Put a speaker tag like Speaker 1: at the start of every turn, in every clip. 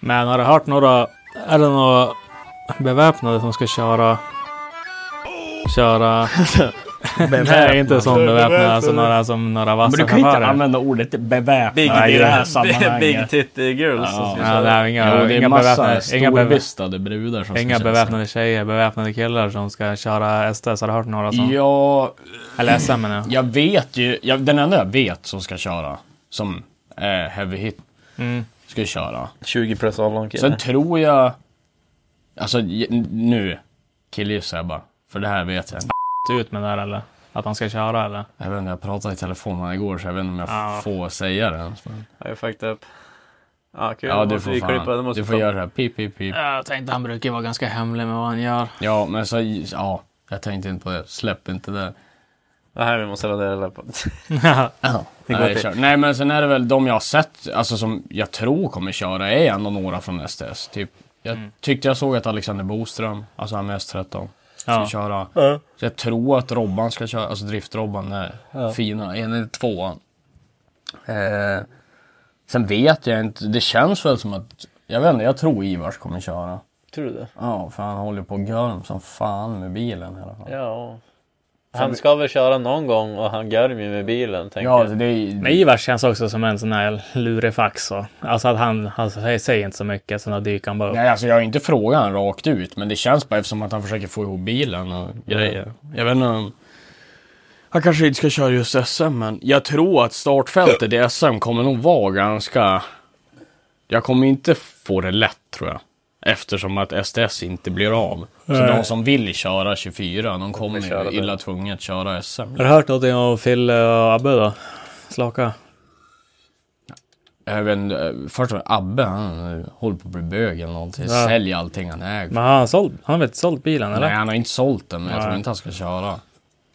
Speaker 1: Men har du hört några, är det några beväpnade som ska köra, köra, nej inte som beväpnade, alltså några som några
Speaker 2: Men
Speaker 1: vassa
Speaker 2: du kan ju inte
Speaker 1: chaufförer.
Speaker 2: använda ordet beväpnad
Speaker 3: Big,
Speaker 2: i det här
Speaker 3: Big
Speaker 2: sammanhanget.
Speaker 3: Titty Girls.
Speaker 2: Ja.
Speaker 3: som
Speaker 1: Ja,
Speaker 3: ska-
Speaker 1: nej,
Speaker 2: Jo,
Speaker 1: inga,
Speaker 2: det är
Speaker 1: inga beväpnade,
Speaker 2: massa
Speaker 1: inga beväpnade.
Speaker 2: storvistade brudar som
Speaker 1: Inga
Speaker 2: ska köra
Speaker 1: beväpnade tjejer, beväpnade killar som ska köra STS. Har du hört några
Speaker 2: sånt.
Speaker 1: sånt?
Speaker 2: Ja,
Speaker 1: Eller SM menar jag.
Speaker 2: jag vet ju. Jag, den enda jag vet som ska köra, som är heavy hit,
Speaker 1: Mm.
Speaker 2: ska köra.
Speaker 3: 20 plus ollon
Speaker 2: Sen
Speaker 3: kille.
Speaker 2: tror jag... Alltså j- nu, killgissar jag bara. För det här vet jag inte.
Speaker 1: Ut med det där eller? Att han ska köra eller?
Speaker 2: Jag vet inte, jag pratade i telefonen igår så jag vet inte om jag
Speaker 1: Ja.
Speaker 2: får säga det ens. men-
Speaker 3: Ja, jag fucked up. Ja, kul.
Speaker 2: Ja,
Speaker 3: Då
Speaker 2: du
Speaker 3: måste
Speaker 2: får
Speaker 3: vi klippa. Det
Speaker 2: fan.
Speaker 3: måste
Speaker 2: Du
Speaker 3: vi
Speaker 2: får
Speaker 3: ta.
Speaker 2: göra det här. Pip, pip, pip.
Speaker 1: Jag tänkte han brukar vara ganska hemlig med vad han gör.
Speaker 2: Ja, men så... Ja, jag tänkte inte på det. Släpp inte det.
Speaker 3: Det här vi måste radera på. Det går
Speaker 2: Nej,
Speaker 3: till.
Speaker 2: kör. Nej men sen är det väl de jag har sett, alltså som jag tror kommer köra, är ändå några från STS. Typ. Jag
Speaker 1: Mm.
Speaker 2: tyckte jag såg att Alexander Boström, alltså MS-13, ska
Speaker 1: Ja.
Speaker 2: köra. Så jag tror att Robban ska köra, alltså drift-Robban är fina, en eller tvåan. Eh, sen vet jag inte, det känns väl som att, jag vet inte, jag tror Ivars kommer köra.
Speaker 3: Tror du det?
Speaker 2: Ja, för han håller på och gör som fan med bilen i alla fall.
Speaker 3: Ja. Han ska väl köra någon gång och han gör ju med bilen, tänker
Speaker 2: Ja, alltså,
Speaker 3: jag.
Speaker 2: det är,
Speaker 1: Men Ivars känns också som en sån här lurefax. och- Alltså att han, han säger inte så mycket, sen då dyker han bara upp.
Speaker 2: Nej, alltså jag har inte frågat han rakt ut, men det känns bara eftersom att han försöker få ihop bilen och grejer. Jag vet inte om... Han kanske inte ska köra just SM, men jag tror att startfältet i SM kommer nog vara ganska... Jag kommer inte få det lätt, tror jag. Eftersom att STS inte blir av. Så de som vill köra 24, de kommer
Speaker 3: köra
Speaker 2: ju
Speaker 3: det.
Speaker 2: illa tvunget att köra SM.
Speaker 1: Har du hört någonting om Fille och Abbe då? Slaka?
Speaker 2: Jag vet inte, först var det Abbe, han håller på att bli bög eller någonting.
Speaker 1: Ja.
Speaker 2: Säljer allting han äger.
Speaker 1: Men har han sålt, han har väl inte sålt bilen eller?
Speaker 2: Nej, han har inte sålt den, men jag
Speaker 1: Nej.
Speaker 2: tror inte han ska köra.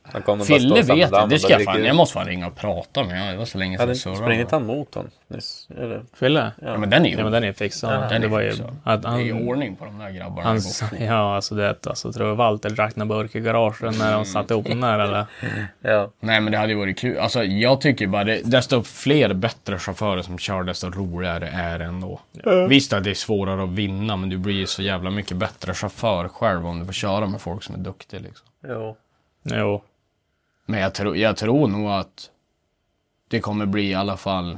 Speaker 3: Han kommer bara stå
Speaker 2: Fille
Speaker 3: och samla
Speaker 2: vet
Speaker 3: damm
Speaker 2: jag,
Speaker 3: och
Speaker 2: det ska
Speaker 3: bara
Speaker 2: jag fan,
Speaker 3: dricker.
Speaker 2: jag måste fan ringa och prata med honom. Det var så länge sedan
Speaker 3: Hade
Speaker 2: jag
Speaker 3: inte-
Speaker 2: surrade
Speaker 3: Sprängde
Speaker 2: med
Speaker 3: inte han motorn nyss? Eller?
Speaker 1: Fille?
Speaker 2: honom. Ja men den är ju...
Speaker 1: Ja men den är fixad.
Speaker 2: den
Speaker 1: det
Speaker 2: är
Speaker 1: var ju...
Speaker 2: fixad.
Speaker 1: Att
Speaker 2: Det är ju
Speaker 1: han,
Speaker 2: ordning på de där grabbarna.
Speaker 1: han,
Speaker 2: Gott.
Speaker 1: ja alltså det, alltså tror du Walter drack några burk i garagen när de satte ihop den där eller?
Speaker 3: Ja.
Speaker 2: Nej men det hade ju varit kul. Alltså jag tycker bara det, desto fler bättre chaufförer som kör desto roligare är det ändå. Visst att det är svårare att vinna men du blir ju så jävla mycket bättre chaufför själv om du får köra med folk som är duktiga liksom.
Speaker 3: Jo.
Speaker 1: Jo.
Speaker 2: Men jag, tror jag tror nog att det kommer bli i alla fall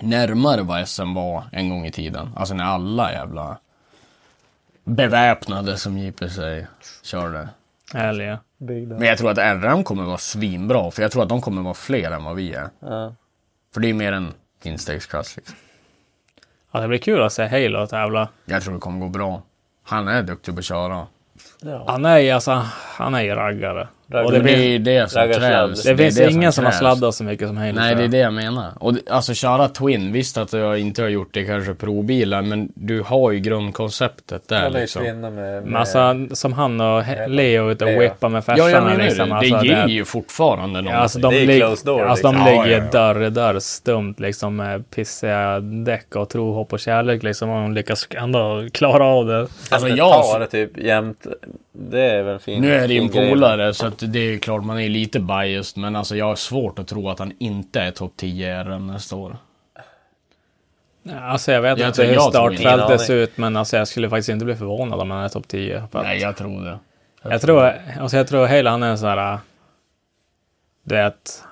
Speaker 2: närmare vad SM var en gång i tiden. Alltså när alla jävla beväpnade som JP säger körde.
Speaker 1: Ärliga.
Speaker 2: Men jag tror att RM kommer vara svinbra för jag tror att de kommer vara fler än vad vi är.
Speaker 3: Ja.
Speaker 2: För det är mer en instegsklass liksom.
Speaker 1: Ja, det blir kul att se Halo tävla.
Speaker 2: Jag tror det kommer gå bra. Han är duktig på att köra.
Speaker 1: Han är ju alltså, han är ju raggare.
Speaker 2: Och det blir det som
Speaker 3: Raggarsladd.
Speaker 2: krävs.
Speaker 1: Det,
Speaker 2: är
Speaker 1: finns
Speaker 2: som
Speaker 1: ingen som har
Speaker 2: krävs.
Speaker 1: sladdat så mycket som Haley. tror
Speaker 2: Nej, det är
Speaker 1: jag.
Speaker 2: det jag menar. Och det- alltså köra Twin, visst att jag inte har gjort det kanske provbilen, men du har ju grundkonceptet där
Speaker 3: Kolla ju
Speaker 2: liksom.
Speaker 3: kvinnor med...
Speaker 1: Men
Speaker 3: med
Speaker 1: alltså, som han och He- Leo ute
Speaker 3: Leo.
Speaker 1: och whippar med
Speaker 2: Ja, jag
Speaker 1: färsarna.
Speaker 2: menar
Speaker 1: liksom,
Speaker 2: det.
Speaker 1: alltså,
Speaker 2: Det ger ju fortfarande någonting.
Speaker 1: Alltså de,
Speaker 3: Det är
Speaker 1: lig-
Speaker 3: closed door,
Speaker 1: alltså, de
Speaker 3: liksom.
Speaker 2: Ja,
Speaker 1: ligger
Speaker 2: ja, ja.
Speaker 1: dörr i dörr stumt liksom med pissiga däck och tro, hopp och kärlek liksom. Och de lyckas ändå klara av det.
Speaker 2: alltså,
Speaker 3: ett
Speaker 2: jag-
Speaker 3: par typ jämt. Det är väl fint.
Speaker 2: Nu är det ju en
Speaker 3: fin grej.
Speaker 2: polare så att det är ju klart man är lite biased men alltså jag har svårt att tro att han inte är topp 10 RM nästa år.
Speaker 1: Alltså jag vet
Speaker 2: Jag
Speaker 1: inte
Speaker 2: tror-
Speaker 1: hur
Speaker 2: jag tror inte.
Speaker 1: startfältet ser
Speaker 3: Ingen
Speaker 1: ut men alltså, jag skulle faktiskt inte bli förvånad om han är topp 10. För att
Speaker 2: Nej jag tror det.
Speaker 1: jag, tror, alltså, jag tror Haley han är en sån här... äh, Du vet,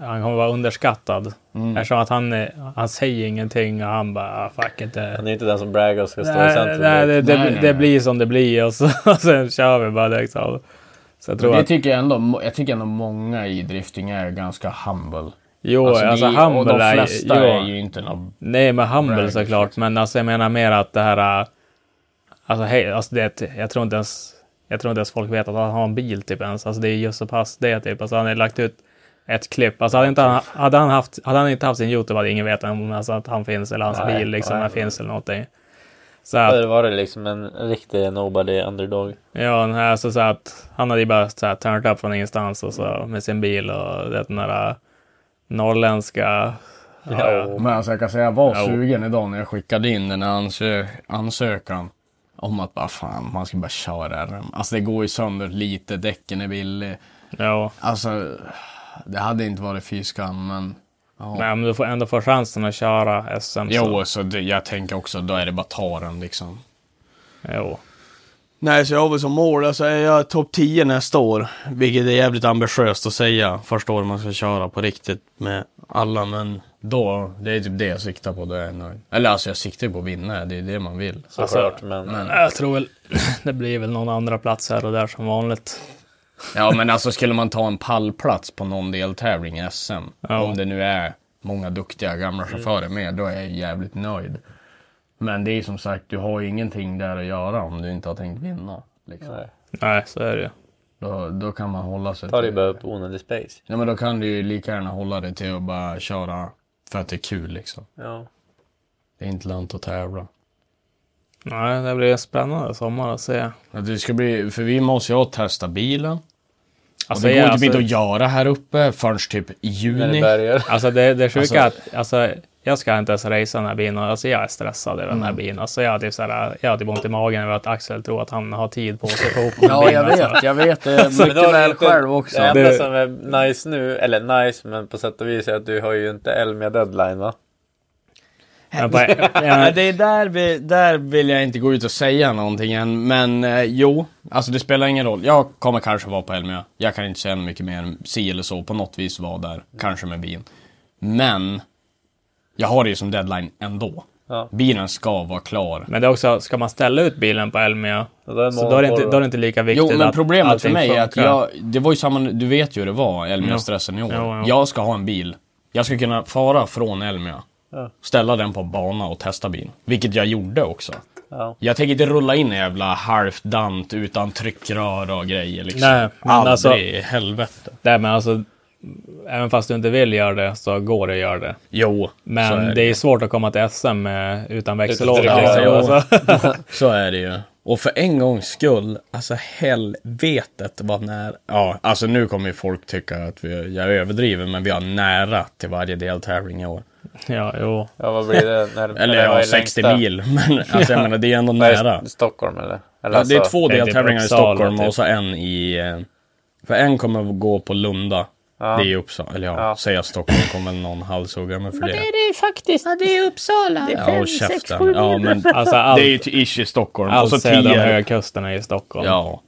Speaker 1: han kommer vara underskattad.
Speaker 2: Mm.
Speaker 1: Eftersom att han, är- han säger ingenting och han bara ah, fuck it. det-
Speaker 3: Han är inte den som braggar och ska stå i
Speaker 1: Nej,
Speaker 3: centrum.
Speaker 1: nej, det, det,
Speaker 2: Nej, nej,
Speaker 1: det
Speaker 2: nej.
Speaker 1: blir som det blir och, så, och sen kör vi bara liksom. Så jag tror
Speaker 2: Det typ-
Speaker 1: att,
Speaker 2: tycker jag ändå, jag tycker ändå många i drifting är ganska humble.
Speaker 1: jo, alltså,
Speaker 2: ni- och
Speaker 1: Humble
Speaker 2: de
Speaker 1: är,
Speaker 2: flesta
Speaker 1: jo,
Speaker 2: är ju inte någon...
Speaker 1: Nej, men Humble
Speaker 2: Bragg,
Speaker 1: såklart, men alltså jag menar mer att det här... äh, Alltså, hej, alltså det, jag tror inte ens... Jag tror inte ens folk vet att han har en bil typ ens. Alltså det är just så pass det typ. Alltså han har lagt ut ett klipp. Alltså hade, inte
Speaker 2: Typ.
Speaker 1: han, hade, han haft, hade han inte haft sin YouTube hade ingen vetat om alltså, att han finns eller hans
Speaker 3: Nej,
Speaker 1: bil liksom
Speaker 3: nej.
Speaker 1: här finns eller någonting. Så
Speaker 3: Ja,
Speaker 1: att,
Speaker 3: det var det liksom en riktig nobody underdog.
Speaker 1: Ja, nej, alltså så att han hade ju bara så här turned up från ingenstans och så med sin bil och det, den där norrländska... Ja, ja.
Speaker 2: Men alltså jag kan säga jag var
Speaker 1: Jo.
Speaker 2: sugen idag när jag skickade in den här ansö- ansökan. Om att bara fan, man ska bara köra RM. Alltså det går ju sönder lite, däcken är billig.
Speaker 1: ja.
Speaker 2: Alltså, det hade inte varit fy skam, men... Ja.
Speaker 1: Nej, men du får ändå få chansen att köra SM. så-
Speaker 2: Jo, så det, jag tänker också, då är det bara ta den liksom.
Speaker 1: jo.
Speaker 2: Nej, så jag har väl som mål, alltså är jag topp 10 nästa år, vilket är jävligt ambitiöst att säga första året man ska köra på riktigt med alla, men då, det är typ det jag siktar på, då är jag nöjd. Eller alltså jag siktar ju på att vinna, det är det man vill.
Speaker 3: Såklart, men...
Speaker 1: Jag tror väl det blir väl någon andra plats här och där som vanligt.
Speaker 2: Ja, men alltså skulle man ta en pallplats på någon deltävling i SM, om det nu är många duktiga gamla
Speaker 1: Mm.
Speaker 2: chaufförer med, då är jag jävligt nöjd. Men det är som sagt, du har ju ingenting där att göra om du inte har tänkt vinna. Liksom.
Speaker 3: Nej.
Speaker 1: Nej, så är det ju.
Speaker 2: Då, då kan man hålla sig
Speaker 3: Tar det ju bara upp onödig space.
Speaker 2: Ja, men då kan du ju lika gärna hålla dig till att bara köra för att det är kul liksom.
Speaker 3: Ja.
Speaker 2: Det är inte lönt att tävla.
Speaker 1: Nej, det blir en spännande sommar att se.
Speaker 2: Att Det ska bli, för vi måste ju ha testa bilen.
Speaker 1: Alltså,
Speaker 2: och det
Speaker 1: jag-
Speaker 2: går ju typ
Speaker 1: alltså-
Speaker 2: inte att göra här uppe förrän typ i
Speaker 3: När det
Speaker 2: juni.
Speaker 3: börjar.
Speaker 1: Alltså det, det sjuka
Speaker 2: Alltså-
Speaker 1: är att alltså, jag ska inte ens racea den här bilen. och Alltså jag är stressad i den här
Speaker 2: Mm.
Speaker 1: bilen. Alltså jag har typ, så här, jag har typ ont i magen över att Axel tror att han har tid på sig att få ihop en
Speaker 2: Ja,
Speaker 1: bil,
Speaker 2: jag
Speaker 1: alltså.
Speaker 2: vet. Jag vet det mycket
Speaker 3: Men då har du
Speaker 2: väl
Speaker 3: inte-
Speaker 2: själv också.
Speaker 3: Det enda
Speaker 1: Det-
Speaker 3: som är nice nu, eller nice men på sätt och vis är att du har ju inte Elmia deadline va?
Speaker 1: Men på-
Speaker 2: Ja,
Speaker 1: ja,
Speaker 2: det är där, vi, där vill jag inte gå ut och säga någonting än, men eh, jo, alltså det spelar ingen roll. Jag kommer kanske vara på Elmia. Jag kan inte säga mycket mer, si eller så, på något vis vara där, kanske med bilen. Men, jag har det ju som deadline ändå.
Speaker 3: Ja.
Speaker 2: Bilen ska vara klar.
Speaker 1: Men det är också, ska man ställa ut bilen på Elmia,
Speaker 3: Och då är det
Speaker 1: så då är, det inte,
Speaker 3: monopol,
Speaker 1: då är det inte lika viktigt
Speaker 2: Jo, men
Speaker 1: att
Speaker 2: problemet för
Speaker 1: allting
Speaker 2: mig är att
Speaker 1: funkar.
Speaker 2: jag, det var ju samma, du vet ju hur det var, Elmia-stressen i år.
Speaker 1: Ja, ja.
Speaker 2: Jag ska ha en bil. Jag ska kunna fara från Elmia, ställa den på en bana och testa bilen. Vilket jag gjorde också.
Speaker 3: Ja.
Speaker 2: Jag tänker inte rulla in i jävla halvt dant utan tryckrör och grejer liksom.
Speaker 1: Nej, men
Speaker 2: Aldrig
Speaker 1: alltså-
Speaker 2: i helvete.
Speaker 1: Nej, men alltså, även fast du inte vill göra det så går det att göra det.
Speaker 2: Jo, så
Speaker 1: Men
Speaker 2: är
Speaker 1: det är svårt att komma till SM eh, utan växellåda.
Speaker 3: trycklåda,
Speaker 1: liksom.
Speaker 2: ja.
Speaker 1: Alltså.
Speaker 2: Så är det ju. Och för en gångs skull, alltså helvetet vad nära. Ja, alltså nu kommer ju folk tycka att vi, jag överdriver, men vi har nära till varje deltävling i år.
Speaker 1: ja, jo.
Speaker 3: Ja vad blir det? När,
Speaker 2: Eller
Speaker 3: när
Speaker 2: ja, 60 mil, men alltså jag menar det är ändå nära.
Speaker 3: Nära. Stockholm eller? eller
Speaker 2: Ja, det är två
Speaker 3: alltså-
Speaker 1: alltså, det är typ
Speaker 2: deltävlingar i
Speaker 1: Uppsala,
Speaker 2: Stockholm
Speaker 1: typ.
Speaker 2: och så en i... eh, För en kommer att gå på Lunda. Det är i Uppsala, eller ja,
Speaker 3: Ja.
Speaker 2: säga Stockholm kommer någon halshugga mig för det.
Speaker 4: är faktiskt. Ja, det är Uppsala. Det
Speaker 2: Ja, och käften. Ja, men
Speaker 1: Alltså, allt,
Speaker 2: det är ju t- ish i Stockholm. Och så
Speaker 1: allt söder om
Speaker 2: Tierp.
Speaker 1: högkusten är i Stockholm.
Speaker 2: Ja.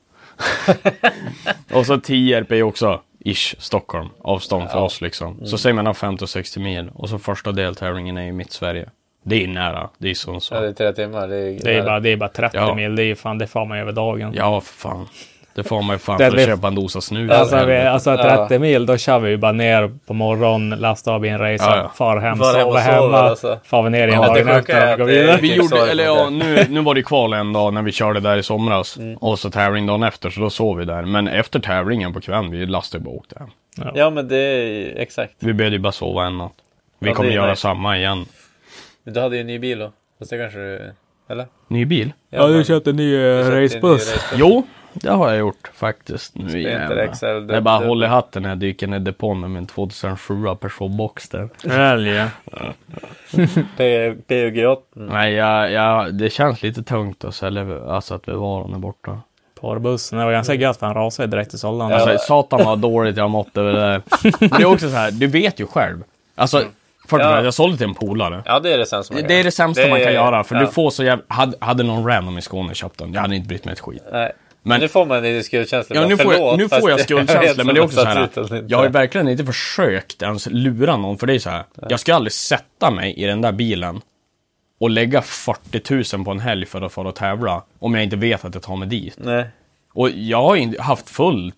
Speaker 2: och så Tierp är ju också ish Stockholm, avstånd för oss liksom. Så säger man 50 och 60 mil och så första deltävlingen är i mitt Sverige. Det är nära, det är
Speaker 3: Ja, det
Speaker 2: Sundsvall.
Speaker 3: är tre timmar. Det är,
Speaker 1: Det är bara, det är bara 30
Speaker 2: Ja.
Speaker 1: mil, det är ju fan, det far man över dagen.
Speaker 2: Ja, för fan. Det får man ju fan
Speaker 1: Det
Speaker 2: för att
Speaker 1: vi-
Speaker 2: köpa en dosa snus.
Speaker 1: Alltså, vi,
Speaker 2: Helvete.
Speaker 1: alltså 30 mil, då kör vi ju bara ner på morgonen, lastar av i en racer,
Speaker 2: Ja, ja.
Speaker 1: far hem,
Speaker 3: Far hem och
Speaker 1: sover
Speaker 3: sover,
Speaker 1: hemma,
Speaker 3: alltså.
Speaker 1: far vi ner igen
Speaker 3: Ja, det
Speaker 1: dagen
Speaker 3: sjuka är
Speaker 1: efter och
Speaker 3: att
Speaker 1: går
Speaker 3: det-
Speaker 1: vidare.
Speaker 2: Vi
Speaker 3: Fick
Speaker 2: gjorde,
Speaker 3: sorg
Speaker 2: eller
Speaker 3: på
Speaker 2: ja,
Speaker 3: det.
Speaker 2: nu, nu var det ju kval en dag när vi körde där i somras. Och så tävling dagen efter, så då sov vi där. Men efter tävlingen på kvällen, vi lastade ju bara och åkte hem.
Speaker 3: Ja men det är exakt.
Speaker 2: Vi började ju bara sova en natt. Vi
Speaker 3: Ja,
Speaker 2: kommer
Speaker 3: det är
Speaker 2: göra
Speaker 3: nice.
Speaker 2: samma igen.
Speaker 3: Men Du hade ju en ny bil då. Fast det kanske du... Eller?
Speaker 2: Ny bil?
Speaker 3: Ja, men-
Speaker 1: en
Speaker 2: eh,
Speaker 1: ny
Speaker 3: du köpte en ny racebuss.
Speaker 2: Jo, det har jag gjort faktiskt. Nu
Speaker 3: Spelar inte
Speaker 2: jävlar.
Speaker 3: det XL,
Speaker 2: Det är
Speaker 3: dubbel-
Speaker 2: bara håll i hatten när jag dyker ner i depån med min 2007 Peugeot Boxster.
Speaker 1: Helge.
Speaker 3: P- PUG8.
Speaker 2: Nej, jag, jag, det känns lite tungt att sälja, alltså att bevara är borta.
Speaker 1: Porrbussen, det var ganska gött för han rasade direkt i sållan.
Speaker 2: Alltså,
Speaker 1: Alltså,
Speaker 2: satan vad dåligt jag har mått över det där. Men det är också så här, du vet ju själv. Alltså, för
Speaker 3: Ja.
Speaker 2: jag sålde till en polare.
Speaker 3: Ja det är det sämsta man
Speaker 2: Det är det sämsta man kan göra, för
Speaker 3: ja.
Speaker 2: du får så jävla... Hade, hade någon random i Skåne köpt den, jag hade inte brytt mig ett skit.
Speaker 3: Nej.
Speaker 2: Men-
Speaker 3: Men... Nu får man lite skuldkänsla.
Speaker 2: Ja,
Speaker 3: bara,
Speaker 2: nu får jag,
Speaker 3: förlåt,
Speaker 2: nu
Speaker 3: fast
Speaker 2: får jag
Speaker 3: vet
Speaker 2: skuldkänsla,
Speaker 3: som
Speaker 2: men det är
Speaker 3: har
Speaker 2: också så här.
Speaker 3: satt ut den lite.
Speaker 2: Jag har ju verkligen inte försökt ens lura någon, för det är så här. Jag ska aldrig sätta mig i den där bilen och lägga 40 000 på en helg för att få att tävla, om jag inte vet att jag tar mig dit.
Speaker 3: Nej.
Speaker 2: Och jag har inte haft full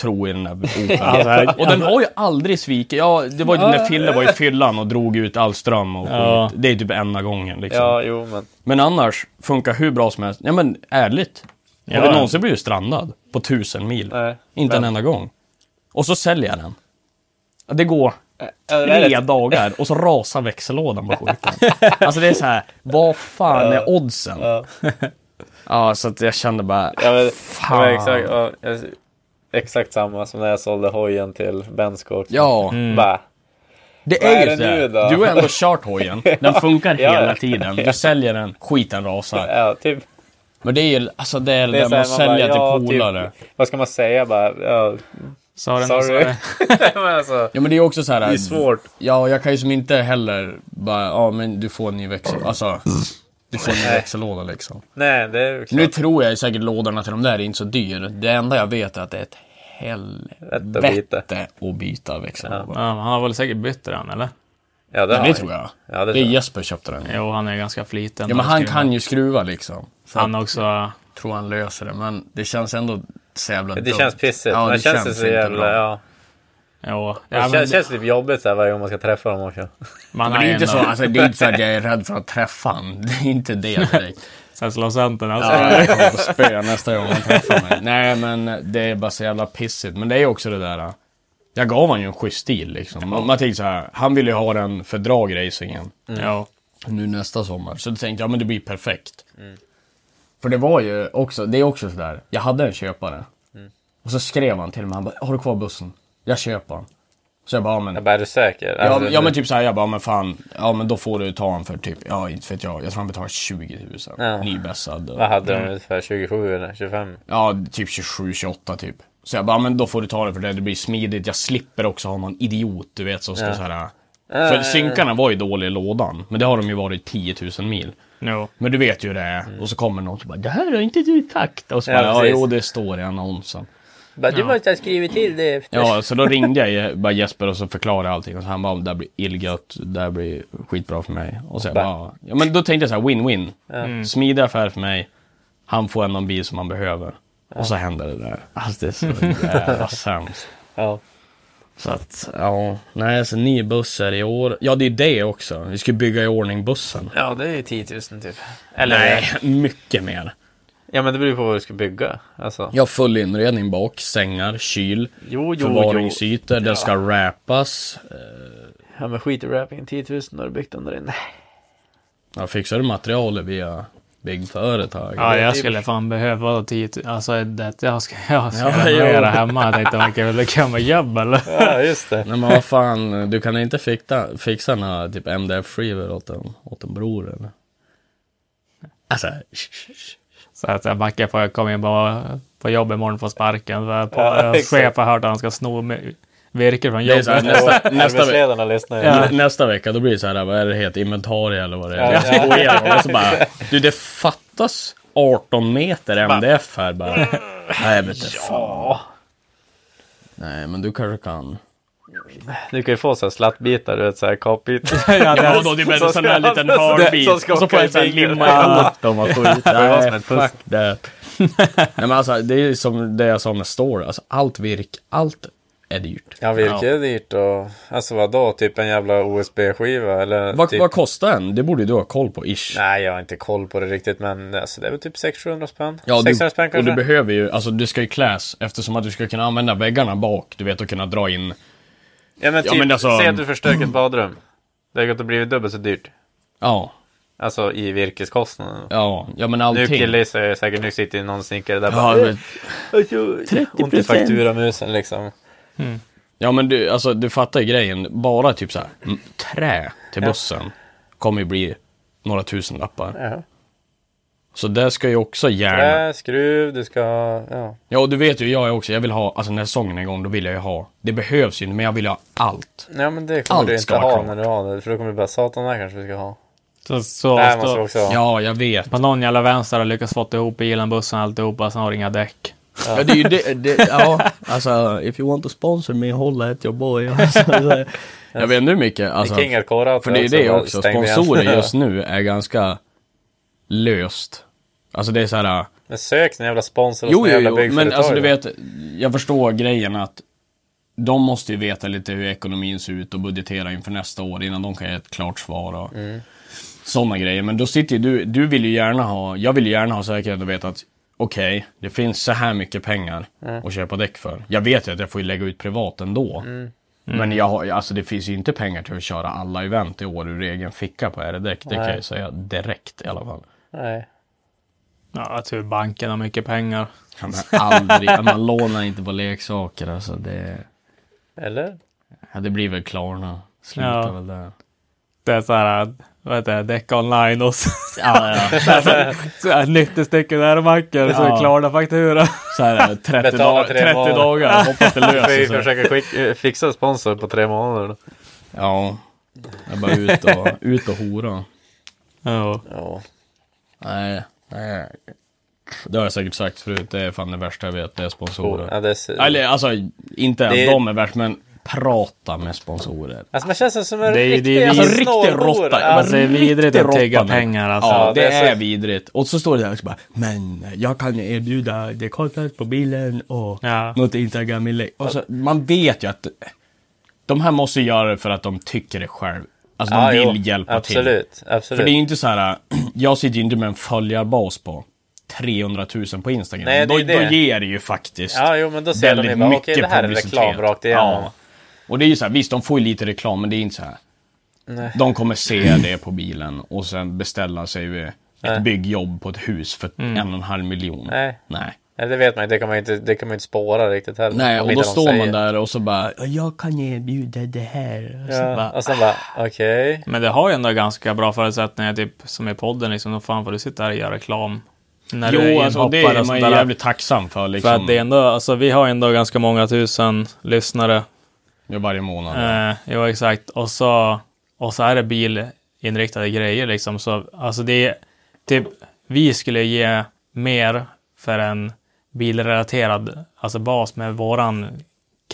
Speaker 2: tro i den där
Speaker 1: Alltså,
Speaker 2: operan.
Speaker 1: här-
Speaker 2: och den har ju aldrig svikit. Ja, det var ju när Fille var i fyllan och drog ut all ström och skit.
Speaker 1: Ja.
Speaker 2: Det är typ enda gången liksom.
Speaker 3: Ja, jo men.
Speaker 2: Men annars, funkar hur bra som helst. Ja men ärligt. Har vi någonsin blivit strandad på tusen mil?
Speaker 3: Nej.
Speaker 2: Inte en
Speaker 3: Men-
Speaker 2: enda gång. Och så säljer jag den. Ja, Det går
Speaker 3: Ja, det är
Speaker 2: tre
Speaker 3: rätt.
Speaker 2: dagar och så rasar växellådan på skiten. alltså det är så här, vad fan är oddsen? Ja, så att jag kände bara,
Speaker 3: Ja, men,
Speaker 2: fan.
Speaker 3: Ja, men exakt, ja, jag- exakt samma som när jag sålde hojen till Benskort.
Speaker 2: Ja,
Speaker 3: Bara,
Speaker 2: det
Speaker 3: Vad
Speaker 2: är
Speaker 3: är
Speaker 2: ju
Speaker 3: det
Speaker 2: det.
Speaker 3: nu då?
Speaker 2: Du har ändå kört hojen. Den funkar
Speaker 3: Ja,
Speaker 2: hela
Speaker 3: ja.
Speaker 2: tiden. Du säljer den, skiten rasar.
Speaker 3: ja, typ.
Speaker 2: Men det är ju, alltså det är det,
Speaker 3: Det är så
Speaker 2: man
Speaker 3: här, man bara,
Speaker 2: säljer
Speaker 3: ja,
Speaker 2: till
Speaker 3: typ.
Speaker 2: polare.
Speaker 3: Vad ska man säga bara? Ja,
Speaker 1: sorry,
Speaker 3: sorry.
Speaker 1: sorry.
Speaker 3: Nej, men alltså,
Speaker 2: Ja men det är också så här.
Speaker 3: det är svårt.
Speaker 2: Ja, jag kan ju som inte heller bara, ja men du får en ny växel, alltså. Du får en ny växellåda liksom.
Speaker 3: Nej, det är ju klart.
Speaker 2: Nu tror jag ju säkert lådorna till de där är inte så dyr. Det enda jag vet är att det är ett helvete
Speaker 3: byta.
Speaker 2: att byta växellåda.
Speaker 1: Ja, men han har väl säkert bytt den, eller?
Speaker 3: Ja, det, har
Speaker 2: Det
Speaker 3: jag.
Speaker 2: tror jag.
Speaker 3: Ja, det
Speaker 2: det är
Speaker 3: tror jag.
Speaker 2: Jesper köpte den.
Speaker 1: Jo, han är ganska Alltså, flitig.
Speaker 2: Ja men han kan ju skruva liksom. Så
Speaker 1: Han
Speaker 2: han
Speaker 1: också...
Speaker 2: tror han löser det, men det känns ändå så jävla
Speaker 3: Det
Speaker 2: dumt.
Speaker 3: känns pissigt.
Speaker 2: Ja,
Speaker 3: men det känns, så
Speaker 2: inte
Speaker 3: jävla...
Speaker 2: bra.
Speaker 3: Ja.
Speaker 1: Jo.
Speaker 3: Det
Speaker 1: Ja, men,
Speaker 3: känns, känns typ jobbigt så här varje gång man ska träffa dem också.
Speaker 1: man
Speaker 2: Men det är ju inte så,
Speaker 1: ändå-
Speaker 2: alltså, det är inte så att jag är rädd för att träffa honom. Det är inte det direkt.
Speaker 1: Sen slår sönder den, alltså.
Speaker 2: Ja, jag kommer få spö nästa gång han träffar mig. Nej, men det är bara så jävla pissigt. Men det är också det där. Jag gav honom ju en schysst stil liksom. Man, man tänkte så här, han ville ju ha den för dragracingen.
Speaker 1: Jo.
Speaker 2: Nu nästa sommar. Så då tänkte jag, men det blir perfekt. För det var ju också, det är också sådär. Jag hade en köpare. Och så skrev han till mig, han bara, har du kvar bussen? Jag köper den. Så jag bara, ja, men
Speaker 3: Jag bara, är du säker?
Speaker 2: Ja,
Speaker 3: Alltså,
Speaker 2: men- ja men typ såhär, jag bara, men fan, ja men då får du ta den för typ, ja inte vet jag, jag tror han betalar 20 000.
Speaker 3: Ja.
Speaker 2: Nyvässad. och-
Speaker 3: Vad hade de
Speaker 2: Mm.
Speaker 3: ungefär? 27 eller 25?
Speaker 2: Ja, typ 27, 28 typ. Så jag bara, men då får du ta det för det, det blir smidigt. Jag slipper också ha någon idiot, du vet, som ska så här. För synkarna var ju dåliga i lådan, men det har de ju varit 10 000 mil.
Speaker 1: Jo.
Speaker 2: Men du vet ju hur det är. Och så kommer någon och bara, det här har inte du takt. Och så bara,
Speaker 3: Mm. Ja,
Speaker 2: ja,
Speaker 3: precis.
Speaker 2: jo det står i annonsen.
Speaker 3: Bara, du måste ha skrivit till det efter.
Speaker 2: Ja, så då ringde jag bara Jesper och så förklarade jag allting. Och så han bara, det här blir illgött, det här blir skitbra för mig. Och så jag bara, ja men då tänkte jag så här, win-win. Smidig affär för mig, han får ändå en bil som han behöver. Och så händer det där. Alltså det är så jävla sämst.
Speaker 3: Ja.
Speaker 2: Så att, ja. Nej, alltså ny bussar i år. Ja, det är det också. Vi ska bygga i ordning bussen.
Speaker 3: Ja, det är ju 10 000 typ. Eller?
Speaker 2: Nej, mycket mer.
Speaker 3: Ja, men det beror ju på vad du ska bygga. Alltså.
Speaker 2: Jag har full inredning bak, sängar, kyl,
Speaker 3: Jo, jo,
Speaker 2: förvaringsytor, den ska wrappas.
Speaker 3: Ja, men skit i wrappingen. 10 000 har du byggt den där inne.
Speaker 2: Ja, fixar du materialet via byggföretag?
Speaker 1: Ja,
Speaker 3: Det är
Speaker 1: jag
Speaker 3: typ-
Speaker 1: skulle fan behöva 10 000. Alltså, det, jag ska, jag ska
Speaker 2: Ja, jo.
Speaker 1: renovera hemma. Jag tänkte, man kan väl lägga med jobb, eller?
Speaker 3: Ja, just det.
Speaker 2: Nej men vad fan, du kan inte fixa, fixa några typ MDF-skivor åt en, åt en bror eller? Alltså,
Speaker 1: Så att jag backar på, jag kommer in på, på jobb imorgon på sparken. För på, hans
Speaker 3: exakt.
Speaker 1: chef har hört att han ska sno med- virke från
Speaker 2: det är så här,
Speaker 1: jobbet.
Speaker 2: nästa, nästa, ve-
Speaker 3: Arbetsledarna lyssnar ju.
Speaker 2: nästa vecka då blir det så här, vad är det heter, inventarie eller vad det är.
Speaker 3: Ja,
Speaker 2: Jag ska gå igenom och så bara, du det fattas 18 meter MDF här bara. Nej jag vet inte fan. Nej men du kanske kan.
Speaker 3: Du kan ju få så här slattbitar, du vet, så här kapbitar.
Speaker 1: Ja, det
Speaker 2: Ja,
Speaker 1: är-
Speaker 2: då det blir en
Speaker 3: Som
Speaker 2: sån där
Speaker 3: ska-
Speaker 2: liten
Speaker 3: som ska-
Speaker 2: hardbeat.
Speaker 3: som ska
Speaker 2: Och så
Speaker 3: åka
Speaker 2: får
Speaker 3: i
Speaker 2: jag sån här
Speaker 3: bilen.
Speaker 2: limma ihop dem och skjuta.
Speaker 3: Det var som
Speaker 2: Nej,
Speaker 3: ett pussel.
Speaker 2: fuck det. Nej men alltså det är som det jag sa med story. Alltså allt virk, allt är dyrt.
Speaker 3: Ja, virke är dyrt och... Alltså vadå? Typ en jävla OSB-skiva eller...
Speaker 2: Vad,
Speaker 3: typ...
Speaker 2: vad kostar en? Det borde ju du ha koll på ish.
Speaker 3: Nej, jag har inte koll på det riktigt men alltså, det är väl typ 600-700 spänn.
Speaker 2: Ja, du,
Speaker 3: 600 spänn
Speaker 2: och
Speaker 3: kanske?
Speaker 2: du behöver ju, alltså du ska ju kläs eftersom att du ska kunna använda väggarna bak, du vet, och kunna dra in.
Speaker 3: ja, men typ,
Speaker 2: Ja, men alltså-
Speaker 3: säg att du förstör ett badrum. Det har gått och blivit dubbelt så dyrt.
Speaker 2: Ja,
Speaker 3: Alltså i virkeskostnaden.
Speaker 2: ja, ja men
Speaker 3: Nu
Speaker 2: allting.
Speaker 3: killgissar jag säkert, nu sitter ju någon snickare där
Speaker 2: Ja,
Speaker 3: bara... "Eh,
Speaker 2: men,
Speaker 3: "Alltså, Ont i fakturamusen liksom.
Speaker 2: ja men du, alltså du fattar ju grejen. Bara typ så här, mm, trä till bussen kommer ju bli några tusen lappar.
Speaker 3: Ja.
Speaker 2: Så där ska ju också gärna.
Speaker 3: Trä, skruv, du ska... Ja.
Speaker 2: Ja, och du vet ju jag är också, jag vill ha, alltså när säsongen är igång, då vill jag ju ha. Det behövs ju inte, men jag vill ju ha allt.
Speaker 3: ja, men det kommer
Speaker 2: Allt
Speaker 3: du
Speaker 2: ska
Speaker 3: inte
Speaker 2: vara
Speaker 3: ha
Speaker 2: klart.
Speaker 3: när du har det. För då kommer du bara, satan det här kanske vi ska ha.
Speaker 1: Så, så,
Speaker 3: det här
Speaker 1: så-
Speaker 3: måste vi också ha.
Speaker 2: Ja, jag vet.
Speaker 1: På någon jävla vänster har lyckats fått ihop bilen, bussen och alltihopa, sen har inga däck.
Speaker 2: Ja, det är ju det, det ja, alltså if you want to sponsor me, holla at your boy. Alltså, så- jag vet inte hur mycket, alltså,
Speaker 3: King är korrat
Speaker 2: för det är det
Speaker 3: bara
Speaker 2: också,
Speaker 3: stängde igen.
Speaker 2: sponsorer just nu är ganska löst. Alltså det är så här,
Speaker 3: Men sök en jävla sponsor hos
Speaker 2: jo,
Speaker 3: en
Speaker 2: jo,
Speaker 3: jävla
Speaker 2: jo, men
Speaker 3: byggföretag.
Speaker 2: alltså du vet, jag förstår grejen att de måste ju veta lite hur ekonomin ser ut och budgetera inför nästa år innan de kan ge ett klart svar och sådana grejer. Men då sitter ju du, du vill ju gärna ha, jag vill ju gärna ha säkerhet och veta att okej, det finns så här mycket pengar att köpa däck för. Jag vet ju att jag får ju lägga ut privat ändå. Men jag har, alltså det finns ju inte pengar till att köra alla event i år ur egen ficka på R-däck. Det kan jag ju säga direkt i alla fall.
Speaker 3: Nej.
Speaker 1: Ja, tur banken har mycket pengar.
Speaker 2: Ja, men aldrig, man lånar inte på leksaker alltså. Det...
Speaker 3: Eller?
Speaker 2: Ja, det blir väl Klarna. Slutar
Speaker 1: Ja.
Speaker 2: väl där.
Speaker 1: Det är så här, vad heter det, däck online och så,
Speaker 2: Ja, ja.
Speaker 1: så här, 90 stycken äromackor och så är
Speaker 2: Ja.
Speaker 1: det klara faktura.
Speaker 2: Så här, eh, 30,
Speaker 3: Betala
Speaker 2: dagar,
Speaker 3: tre
Speaker 2: 30
Speaker 3: månader.
Speaker 2: dagar. Hoppas det
Speaker 3: Vi får ju
Speaker 2: löser sig.
Speaker 3: försöka skick, eh, fixa en sponsor på tre månader. då.
Speaker 2: Ja. Jag bara ut och, ut och hora.
Speaker 1: Ja.
Speaker 3: Ja.
Speaker 2: Nej. nej. Det har jag säkert sagt förut. Det är fan det värsta jag vet. Det är sponsorer.
Speaker 3: Oh, Ja, det är...
Speaker 2: Eller alltså, inte att
Speaker 3: Det är-
Speaker 2: de är värst, men prata med sponsorer.
Speaker 3: Alltså man känns som en
Speaker 1: Det är-
Speaker 3: riktig
Speaker 1: det är
Speaker 3: jävla
Speaker 2: Alltså,
Speaker 1: riktig
Speaker 3: snålbor.
Speaker 2: råtta.
Speaker 3: Ja,
Speaker 1: Alltså, det är vidrigt att
Speaker 2: Riktig
Speaker 1: tigga
Speaker 2: råtta nu.
Speaker 1: pengar alltså.
Speaker 2: Ja,
Speaker 3: Ja,
Speaker 2: det,
Speaker 3: det är
Speaker 2: är,
Speaker 3: så-
Speaker 2: vidrigt. Och så står det där och så bara, men jag kan erbjuda det kortet på bilen och
Speaker 1: Ja.
Speaker 2: något Instagram-inlägg. Och så, Alltså, man vet ju att de här måste göra det för att de tycker det själv. Alltså de
Speaker 3: Ja,
Speaker 2: vill
Speaker 3: jo.
Speaker 2: hjälpa till.
Speaker 3: Absolut, absolut.
Speaker 2: För det är ju inte så här, jag sitter ju inte med en följarbas på 300 000 på Instagram.
Speaker 3: Nej, det
Speaker 2: då,
Speaker 3: är det.
Speaker 2: då ger det ju faktiskt
Speaker 3: Ja, jo, men då ser de ju bara, okej, det här är reklam rakt igenom.
Speaker 2: Ja. Och det är ju så här, visst de får ju lite reklam, men det är inte så här.
Speaker 3: Nej.
Speaker 2: De kommer se det på bilen och sen beställa sig ju ett
Speaker 3: Nej. Mm.
Speaker 2: byggjobb på ett hus för en och en halv miljon.
Speaker 3: Nej.
Speaker 2: Nej.
Speaker 3: Eller det vet man ju, det kan man ju inte, det kan man ju inte spåra riktigt heller.
Speaker 2: Nej,
Speaker 3: om
Speaker 2: och
Speaker 3: inte
Speaker 2: då
Speaker 3: de
Speaker 2: står man
Speaker 3: säger.
Speaker 2: där och så bara, "Ja, jag kan erbjuda det här. Och så
Speaker 3: Ja,
Speaker 2: bara,
Speaker 3: och sen bara, okej.
Speaker 1: Men det har ju ändå ganska bra förutsättningar, typ som i podden liksom. Då fan får du sitta här och göra reklam. När du
Speaker 2: jo,
Speaker 1: är
Speaker 2: alltså det
Speaker 1: inhoppare
Speaker 2: är
Speaker 1: och
Speaker 2: man
Speaker 1: sånt
Speaker 2: ju
Speaker 1: där.
Speaker 2: jävligt tacksam för liksom.
Speaker 1: För att det är ändå, alltså vi har ju ändå ganska många tusen lyssnare.
Speaker 2: Ja, varje månad.
Speaker 1: Eh, jo, exakt. Och så, och så är det bilinriktade grejer liksom. Så, alltså det är, typ, vi skulle ge mer för en bilrelaterad alltså bas med våran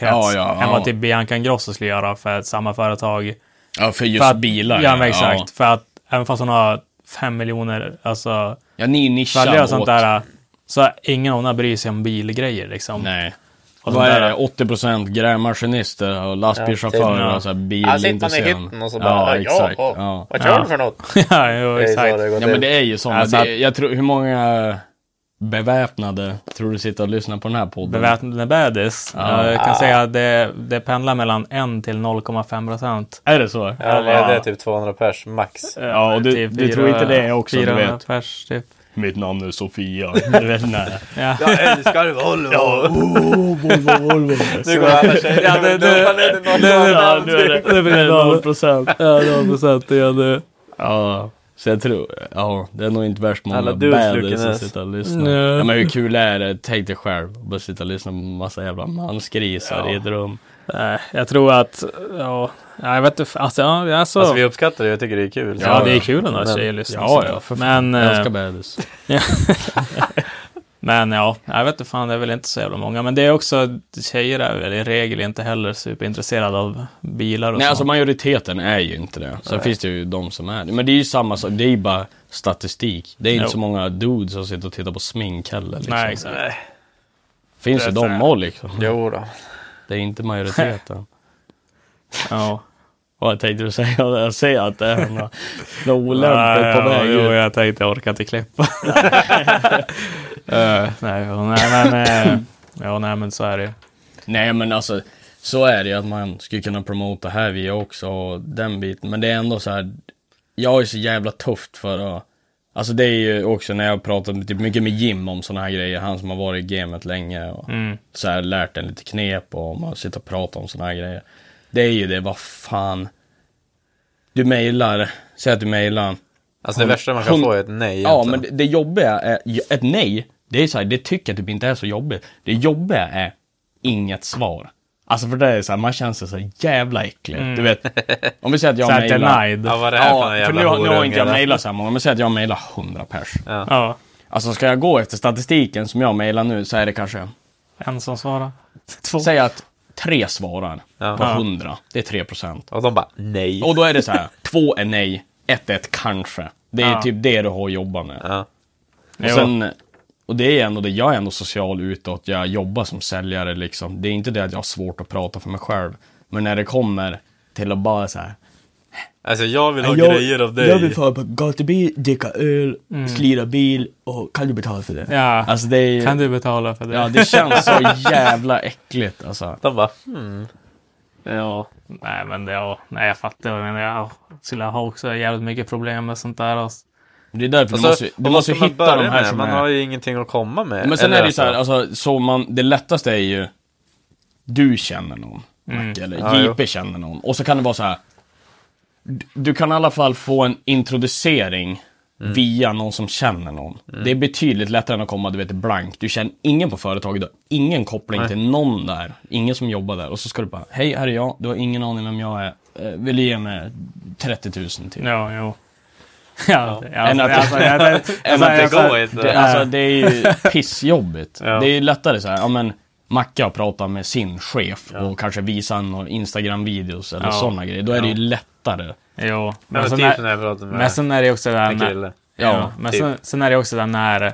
Speaker 1: krets
Speaker 2: Ja, ja,
Speaker 1: än vad
Speaker 2: ja.
Speaker 1: typ Bianca Ingrosso skulle göra för samma företag.
Speaker 2: Ja, för just
Speaker 1: för att,
Speaker 2: bilar.
Speaker 1: Ja, men exakt. För att även fast hon har fem miljoner alltså,
Speaker 2: Ja, ni är nischade
Speaker 1: följare och
Speaker 2: åt-
Speaker 1: sånt där, så är ingen av dem bryr sig om bilgrejer liksom.
Speaker 2: Nej.
Speaker 1: Och
Speaker 2: äh, Vad
Speaker 1: sånt
Speaker 2: är
Speaker 1: där.
Speaker 2: det? 80 procent grävmaskinister och lastbilschaufförer
Speaker 1: Ja,
Speaker 2: och så här
Speaker 3: Han sitter man i
Speaker 2: bilintresserade.
Speaker 3: hytten och så bara, ja,
Speaker 2: exakt.
Speaker 3: åh,
Speaker 2: Ja.
Speaker 3: vad kör du för något?
Speaker 1: ja, jo,
Speaker 3: Det är så
Speaker 1: exakt.
Speaker 3: det går
Speaker 2: ja,
Speaker 3: till.
Speaker 2: men det är ju sånt.
Speaker 1: Alltså
Speaker 2: det,
Speaker 1: att-
Speaker 2: jag tror, hur många beväpnade tror du sitter och lyssnar på den här podden?
Speaker 1: Beväpnade badis.
Speaker 2: Ja.
Speaker 1: Jag kan säga att det, det pendlar mellan 1 till 0,5 procent.
Speaker 2: Är det så?
Speaker 3: Ja, men det är typ 200 pers max.
Speaker 2: Ja, och du-
Speaker 1: Typ
Speaker 2: du tror inte det också, du vet.
Speaker 1: Pers, typ.
Speaker 2: Mitt namn är Sofia. Du vet, nej.
Speaker 3: Jag älskar Volvo! Ja,
Speaker 2: oh, Volvo, Volvo.
Speaker 3: nu går alla tjejer
Speaker 1: Ja, det- det-
Speaker 2: Ja, nu är det- nu är det 0 procent.
Speaker 1: Ja, 0 procent är det.
Speaker 2: Ja, så jag tror, ja, det är nog inte värst många
Speaker 3: Alla dudes looking
Speaker 2: badis som
Speaker 3: ass.
Speaker 2: sitter och lyssnar.
Speaker 1: Nej.
Speaker 2: Ja, men hur kul är det? Tänk dig själv, bara sitta och lyssna på massa jävla mansgrisar i ett rum.
Speaker 1: Nej, jag tror att, ja, nej, jag vet inte, alltså, ja, alltså,
Speaker 3: Alltså vi uppskattar det, jag tycker det är kul.
Speaker 1: ja, det är kul ändå att tjejer lyssnar.
Speaker 2: Ja,
Speaker 1: så.
Speaker 2: ja, för
Speaker 1: men,
Speaker 2: Jag älskar
Speaker 1: eh,
Speaker 2: badis.
Speaker 1: men ja, jag vet inte fan, det är väl inte så jävla många. Men det är också, tjejer är väl i regel inte heller superintresserade av bilar och
Speaker 2: Nej,
Speaker 1: sånt.
Speaker 2: alltså majoriteten är ju inte det. Sen finns det ju de som är det. Men det är ju samma sak, det är ju bara statistik. Det är inte
Speaker 1: Jo.
Speaker 2: så många dudes som sitter och tittar på smink heller. Liksom.
Speaker 1: Nej, exakt.
Speaker 2: Finns ju
Speaker 1: Det
Speaker 2: de
Speaker 1: är-
Speaker 2: också liksom.
Speaker 3: Jo då.
Speaker 2: Det är inte majoriteten.
Speaker 1: Ja.
Speaker 2: Vad tänkte du säga? Jag ser att det är något något
Speaker 1: Nej,
Speaker 2: olämpligt på väg
Speaker 1: jo,
Speaker 2: ut.
Speaker 1: jag tänkte jag orkar inte klippa. Eh, nej, jo, nej, men, eh, ja, nej, men så är det
Speaker 2: Nej men alltså, så är det ju att man skulle kunna promota här via också och den biten. Men det är ändå så här, jag är så jävla tufft för att Alltså det är ju också när jag pratar typ mycket med Jim om sådana här grejer, han som har varit i gamet länge och så här lärt en lite knep och man sitter och pratar om sådana här grejer. Det är ju det, vad fan. Du mejlar, säg att du mejlar
Speaker 3: Alltså det värsta man kan
Speaker 2: Hon-
Speaker 3: få är ett nej
Speaker 2: Ja,
Speaker 3: egentligen.
Speaker 2: men det, det jobbiga är, ett nej, det är så här, det tycker jag typ inte är så jobbigt. Det jobbiga är inget svar. Alltså för det är så här, man känner sig så jävla äcklig. Du vet, om vi säger att jag
Speaker 1: Mm. Så att
Speaker 2: mejlar...
Speaker 1: denied.
Speaker 3: Ja, vad är det här
Speaker 2: Ja,
Speaker 3: för
Speaker 2: för
Speaker 3: en jävla
Speaker 2: nu, har- nu har
Speaker 3: horunge,
Speaker 2: inte jag
Speaker 3: eller?
Speaker 2: mejlat så här många, men säg att jag mejlar 100 pers.
Speaker 1: Ja,
Speaker 2: Alltså ska jag gå efter statistiken som jag mejlar nu så är det kanske,
Speaker 1: en som svarar. Två.
Speaker 2: säg att tre svarar
Speaker 3: Ja.
Speaker 2: på 100. Det är 3 procent.
Speaker 3: Och de bara nej.
Speaker 2: Och då är det så här, två är nej, ett är ett kanske. Det är
Speaker 1: Ja.
Speaker 2: typ det du har att jobba med.
Speaker 3: Ja.
Speaker 2: Och, sen, och det är ändå det, jag är ändå social utåt, jag jobbar som säljare liksom. Det är inte det att jag har svårt att prata för mig själv. Men när det kommer till att bara så här.
Speaker 3: Alltså jag vill ha grejer av dig. Mm.
Speaker 2: fara på gatubil, dricka öl, slira bil och kan du betala för det?
Speaker 1: Ja.
Speaker 2: Alltså det är
Speaker 1: Kan du betala för det?
Speaker 2: Ja, det känns så jävla äckligt alltså.
Speaker 3: De bara "Hmm,
Speaker 1: Ja. Nej, men det, ja. Nej, jag fattar. vad du menar. jag skulle ha också jävligt mycket problem med sånt där. Alltså.
Speaker 2: Det är därför
Speaker 3: alltså,
Speaker 2: du måste, du
Speaker 3: vad
Speaker 2: måste
Speaker 3: ska man
Speaker 2: hitta
Speaker 3: börja
Speaker 2: de här
Speaker 3: med?
Speaker 2: som
Speaker 3: Man
Speaker 2: är...
Speaker 3: har ju ingenting att komma med.
Speaker 2: Men sen
Speaker 3: Eller
Speaker 2: är det ju så här,
Speaker 3: alltså,
Speaker 2: alltså, så man, det lättaste är ju du känner någon, Macke, eller
Speaker 3: Ja,
Speaker 2: JP känner någon. Och så kan det vara så här. d- Du kan i alla fall få en introducering
Speaker 3: Mm.
Speaker 2: via någon som känner någon. Det är betydligt lättare än att komma, du vet, blank. Du känner ingen på företaget, du har ingen koppling till någon där. Ingen som jobbar där. Och så ska du bara, hej, här är jag, du har ingen aning vem jag är. Eh, Vill du ge mig 30 000 typ?
Speaker 1: Ja, jo. Ja, ja. Alltså,
Speaker 2: Än att-
Speaker 1: alltså, jag- det-
Speaker 2: Än
Speaker 1: alltså,
Speaker 2: att det
Speaker 1: jag-
Speaker 3: går inte.
Speaker 2: Det, alltså det är ju pissjobbigt. Det är ju lättare så här, ja men Macke har pratat med sin chef och kanske visat några Instagram-videos eller
Speaker 1: Ja.
Speaker 2: sådana grejer. Då är det ju lättare.
Speaker 1: Jo.
Speaker 3: Men
Speaker 1: Men, sen
Speaker 3: typ när
Speaker 1: är,
Speaker 3: jag pratar med
Speaker 1: men sen är det också det här
Speaker 3: en
Speaker 1: med-
Speaker 3: kille.
Speaker 2: Ja,
Speaker 1: Ja, men
Speaker 3: typ.
Speaker 1: sen, sen är det också den när,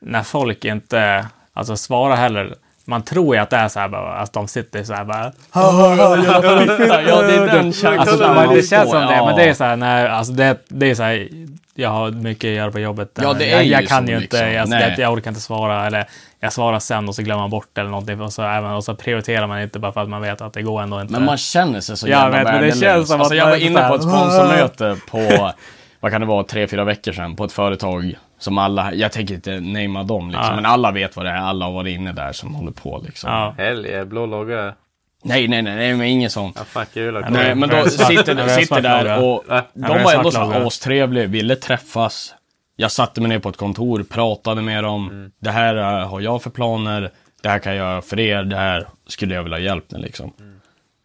Speaker 1: när folk inte alltså, svarar heller. Man tror ju att det är så här bara, att de sitter så här bara.
Speaker 2: ja, det är den känslan
Speaker 1: Alltså,
Speaker 2: man
Speaker 1: man, det
Speaker 2: får,
Speaker 1: känns som det,
Speaker 2: ja.
Speaker 1: men det är så här när, alltså det, det är så här, jag har mycket att göra på jobbet.
Speaker 2: Ja, det är
Speaker 1: jag, jag
Speaker 2: ju
Speaker 1: kan
Speaker 2: så,
Speaker 1: ju inte,
Speaker 2: liksom.
Speaker 1: jag,
Speaker 2: Nej.
Speaker 1: jag, jag orkar inte svara eller jag svarar sen och så glömmer man bort eller någonting och så, även, och så prioriterar man inte bara för att man vet att det går ändå inte.
Speaker 2: Men man känner sig så
Speaker 1: Ja,
Speaker 2: jävla
Speaker 1: jag vet, men det
Speaker 2: värdelös.
Speaker 1: känns som
Speaker 2: alltså,
Speaker 1: att
Speaker 2: jag
Speaker 1: man
Speaker 2: var
Speaker 1: är
Speaker 2: inne på
Speaker 1: så
Speaker 2: ett
Speaker 1: här,
Speaker 2: sponsormöte på, vad kan det vara, tre, fyra veckor sedan på ett företag som alla, jag tänker inte namea dem liksom,
Speaker 1: Ja.
Speaker 2: men alla vet vad det är, alla har varit inne där som håller på liksom.
Speaker 1: ja.
Speaker 3: Helg, blå logga.
Speaker 2: Nej, nej, nej, nej, men inget sånt.
Speaker 3: Ja, fuck, jag vill ha
Speaker 2: Nej,
Speaker 3: kvar.
Speaker 2: men
Speaker 1: det är
Speaker 2: då
Speaker 1: en svart-
Speaker 2: sitter,
Speaker 1: det är en
Speaker 2: sitter
Speaker 1: svart
Speaker 2: där
Speaker 1: fråga.
Speaker 2: och
Speaker 3: Ja,
Speaker 2: de
Speaker 1: det är en
Speaker 2: var
Speaker 1: svart
Speaker 2: ändå så här
Speaker 1: fråga.
Speaker 2: astrevliga, ville träffas. Jag satte mig ner på ett kontor, pratade med dem. Det här eh, har jag för planer. Det här kan jag göra för er. Det här skulle jag vilja ha hjälp med liksom.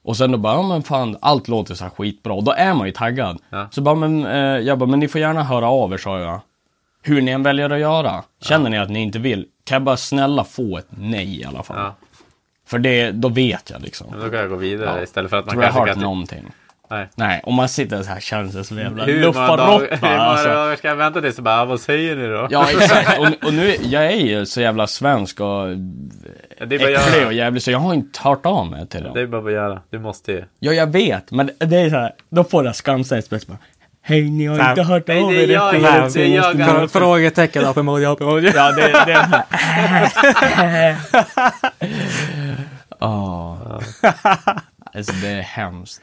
Speaker 2: Och sen då bara, ja men fan, allt låter så här skitbra. Och då är man ju taggad. Så bara, men eh, jag bara, men ni får gärna höra av er, sa jag. Hur ni än väljer att göra. Känner ni att ni inte vill, kan jag bara snälla få ett nej i alla fall.
Speaker 3: Ja.
Speaker 2: För det, då vet jag liksom.
Speaker 3: Men Då kan jag gå vidare
Speaker 2: Ja.
Speaker 3: istället för att man
Speaker 2: Tror jag
Speaker 3: kanske
Speaker 2: har hört
Speaker 3: kan... typ-
Speaker 2: någonting.
Speaker 3: Nej.
Speaker 2: Nej, om man sitter så här känns det som en jävla
Speaker 3: Hur många dagar-
Speaker 2: luffarrotta.
Speaker 3: hur många
Speaker 2: Alltså.
Speaker 3: dagar ska jag vänta tills jag bara, "Ah, vad säger ni då?
Speaker 2: Ja, exakt. Och, och nu, jag är ju så jävla svensk och
Speaker 3: det är bara
Speaker 2: äcklig
Speaker 3: att
Speaker 2: och
Speaker 3: göra.
Speaker 2: jävlig så jag har inte hört av mig till
Speaker 3: Det
Speaker 2: dem.
Speaker 3: är bara att göra. Du måste ju.
Speaker 2: Ja, jag vet, men det är så här, då får jag skamsens plötsligt bara, Hej, ni har inte hört av
Speaker 3: Nej, det
Speaker 2: er
Speaker 3: är jag,
Speaker 2: efter
Speaker 3: det är jag.
Speaker 1: Frå- Frågetecken, upp emot, upp emot.
Speaker 2: Ja, det, det är den Alltså det är hemskt.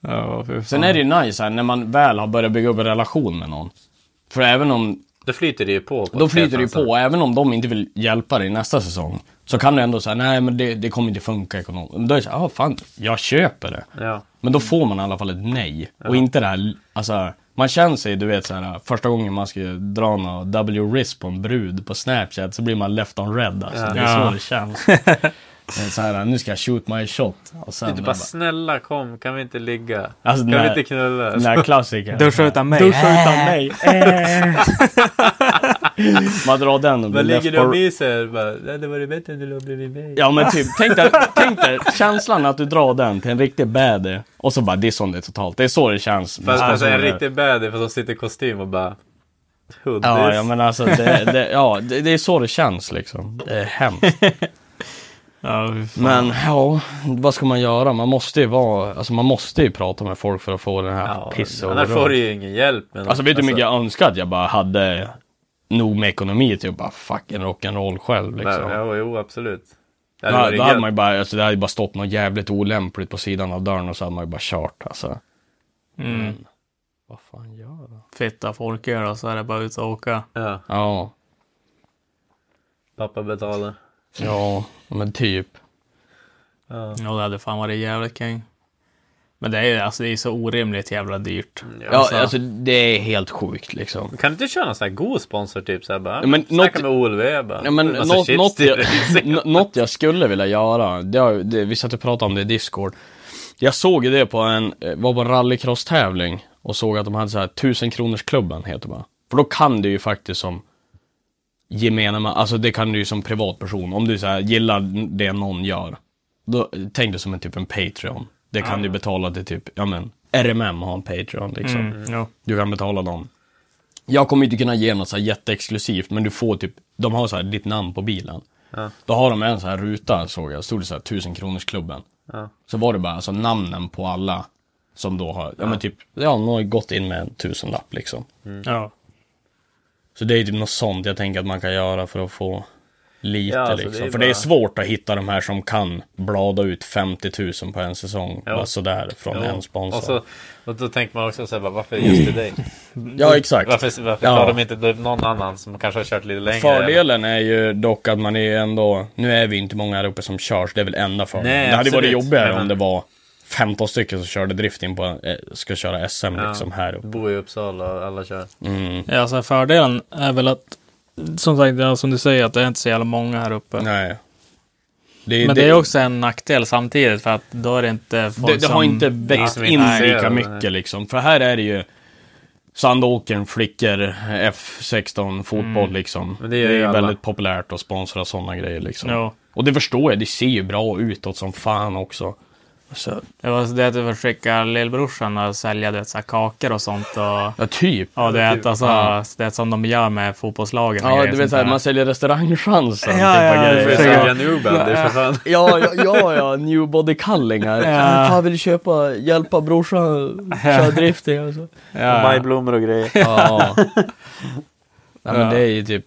Speaker 1: Ja, fy fan.
Speaker 2: Sen är det ju nice här när man väl har börjat bygga upp en relation med någon. För även om
Speaker 3: Då flyter det ju på. på
Speaker 2: Då
Speaker 3: ett
Speaker 2: flyter det ju
Speaker 3: helt annat
Speaker 2: på, även om de inte vill hjälpa dig nästa säsong. Så kan du ändå säga, nej men det, det kommer inte funka ekonomiskt. Då är det såhär, ah, fan, jag köper det.
Speaker 3: sätt. Ja.
Speaker 2: Men då får man i alla fall ett nej. Och inte det här, alltså, man känner sig, du vet såhär, första gången man ska dra någon W-risk på en brud på Snapchat så blir man left on red alltså. Det är så det känns. Det är så här, nu ska jag shoot my shot. Och sen,
Speaker 3: Du
Speaker 2: det
Speaker 3: bara,
Speaker 2: bara,
Speaker 3: snälla kom, kan vi inte ligga?
Speaker 2: Alltså,
Speaker 3: kan
Speaker 2: nej.
Speaker 3: vi inte knulla?
Speaker 2: den här klassikern. Eh.
Speaker 1: Duscha utan mig.
Speaker 2: Duscha utan mig. man drar den och blir
Speaker 3: Vad ligger
Speaker 2: left
Speaker 3: du och
Speaker 2: on
Speaker 3: myser? Bara, "Nej, Det vore bättre om du låg bredvid mig.
Speaker 2: Ja men typ, tänk dig, tänk dig känslan att du drar den till en riktig bäder och så bara dissar hon dig totalt. Det är så det känns.
Speaker 3: Fast alltså, en
Speaker 2: Alltså,
Speaker 3: riktig bäder för som sitter i kostym och bara Hundis.
Speaker 2: Ja, ja men alltså det, det, ja, det, det är så det känns liksom. Det är hemskt.
Speaker 5: Ja, fy fan.
Speaker 2: Men ja, vad ska man göra? Man måste ju vara, alltså man måste ju prata med folk för att få den här
Speaker 3: Ja,
Speaker 2: ja, piss och
Speaker 3: Annars får du ju ingen hjälp. Men,
Speaker 2: Alltså vet du hur mycket jag önskar att jag bara hade nog med ekonomi till att bara fucking rock'n'roll själv liksom.
Speaker 3: Nej, Alltså, ja, jo, absolut. Det hade
Speaker 2: Ja,
Speaker 3: varit
Speaker 2: då hade
Speaker 3: gött.
Speaker 2: man ju bara, alltså, det hade ju bara stått något jävligt olämpligt på sidan av dörren och så hade man ju bara kört alltså.
Speaker 1: Mm.
Speaker 2: Men, vad fan gör jag?
Speaker 5: Fitta folköl och så är det bara ut och åka.
Speaker 3: ja,
Speaker 2: Ja,
Speaker 3: pappa betalar.
Speaker 2: ja, men typ.
Speaker 3: Ja.
Speaker 5: Ja, det hade fan varit jävligt king. Men det är ju alltså, det är så orimligt jävla dyrt.
Speaker 2: Ja, alltså, det är helt sjukt liksom.
Speaker 3: Kan du inte köra någon sån här god sponsor typ såhär bara?
Speaker 2: Ja, men
Speaker 3: snacka
Speaker 2: något-
Speaker 3: med OLV bara.
Speaker 2: Ja, men
Speaker 3: Massa
Speaker 2: något,
Speaker 3: chips
Speaker 2: något,
Speaker 3: till
Speaker 2: jag,
Speaker 3: dig.
Speaker 2: nå- något jag skulle vilja göra, det har, ju- det, vi satt och pratade om det i Discord. Jag såg ju det på en, eh, var på en rallycross-tävling och såg att de hade så här 1000 kronors klubben heter det bara. För då kan du ju faktiskt som gemene man, alltså det kan du ju som privatperson, om du så här gillar det någon gör. Då, tänk dig som en typ en Patreon. Det kan du betala till typ, ja men, RMM har en Patreon liksom.
Speaker 5: Ja.
Speaker 2: Du kan betala dem. Jag kommer inte kunna ge något så här jätteexklusivt, men du får typ, de har så här ditt namn på bilen. Då har de en så här ruta, såg jag, stod det så här 1000 kronors klubben. Så var det bara alltså namnen på alla som då har, ja, men typ, ja, någon har gått in med en tusenlapp liksom.
Speaker 1: Ja.
Speaker 2: Så det är typ något sånt jag tänker att man kan göra för att få lite
Speaker 3: Ja, alltså, det är
Speaker 2: liksom.
Speaker 3: ju
Speaker 2: För det är
Speaker 3: bara-
Speaker 2: svårt att hitta de här som kan blada ut 50 000 på en säsong,
Speaker 3: Ja.
Speaker 2: bara sådär från
Speaker 3: Jo. Alltså,
Speaker 2: en sponsor.
Speaker 3: Och, så, och då tänker man också såhär bara, varför just till dig?
Speaker 2: ja, exakt.
Speaker 3: Varför, varför
Speaker 2: Ja.
Speaker 3: tar de inte typ någon annan som kanske har kört lite längre?
Speaker 2: Fördelen är ju dock att man är ändå, nu är vi inte många här uppe som körs, det är väl enda fördelen.
Speaker 3: Nej,
Speaker 2: det hade ju varit
Speaker 3: absolut.
Speaker 2: jobbigare
Speaker 3: Nej, men-
Speaker 2: om det var 15 stycken som körde drifting på, eh, ska köra SM liksom här uppe.
Speaker 3: Bor i Uppsala och alla kör.
Speaker 1: ja alltså, fördelen är väl att, som sagt, ja, som du säger, att det är inte så jävla många här uppe.
Speaker 2: Nej. Det,
Speaker 1: Men det är också en nackdel samtidigt för att då är det inte folk
Speaker 2: det, det
Speaker 1: som...
Speaker 2: har inte växt
Speaker 3: som
Speaker 2: in
Speaker 3: inte ser
Speaker 2: lika
Speaker 3: det.
Speaker 2: mycket liksom. För här är det ju Sandåkern, flickor, F16, fotboll liksom.
Speaker 3: Mm. Men
Speaker 2: det
Speaker 3: det gör
Speaker 2: är
Speaker 3: ju
Speaker 2: ju
Speaker 3: alla.
Speaker 2: väldigt populärt att sponsra sådana grejer liksom.
Speaker 1: Ja.
Speaker 2: Och det förstår jag, det ser ju bra utåt som fan också. Alltså, Så,
Speaker 1: Det var så det att du försöka lillbrorsan att sälja det, så här, kakor och sånt. Och,
Speaker 2: ja, typ.
Speaker 1: ja, det är alltså, det är som de gör med fotbollslagen. och
Speaker 2: Ja,
Speaker 1: grejer
Speaker 2: du
Speaker 1: sånt
Speaker 2: vet såhär,
Speaker 1: där.
Speaker 2: man säljer restaurangchansen.
Speaker 1: Ja,
Speaker 2: typ,
Speaker 1: ja,
Speaker 2: av
Speaker 3: Du får ju
Speaker 2: grejer.
Speaker 3: sälja Newbender för fan.
Speaker 2: Ja, ja, ja, ja, new body calling här.
Speaker 1: Ja.
Speaker 2: Fan vill du köpa, hjälpa brorsan köra alltså? drifting och så.
Speaker 3: Majblommor och grejer.
Speaker 2: Ja. Nej men det är ju typ,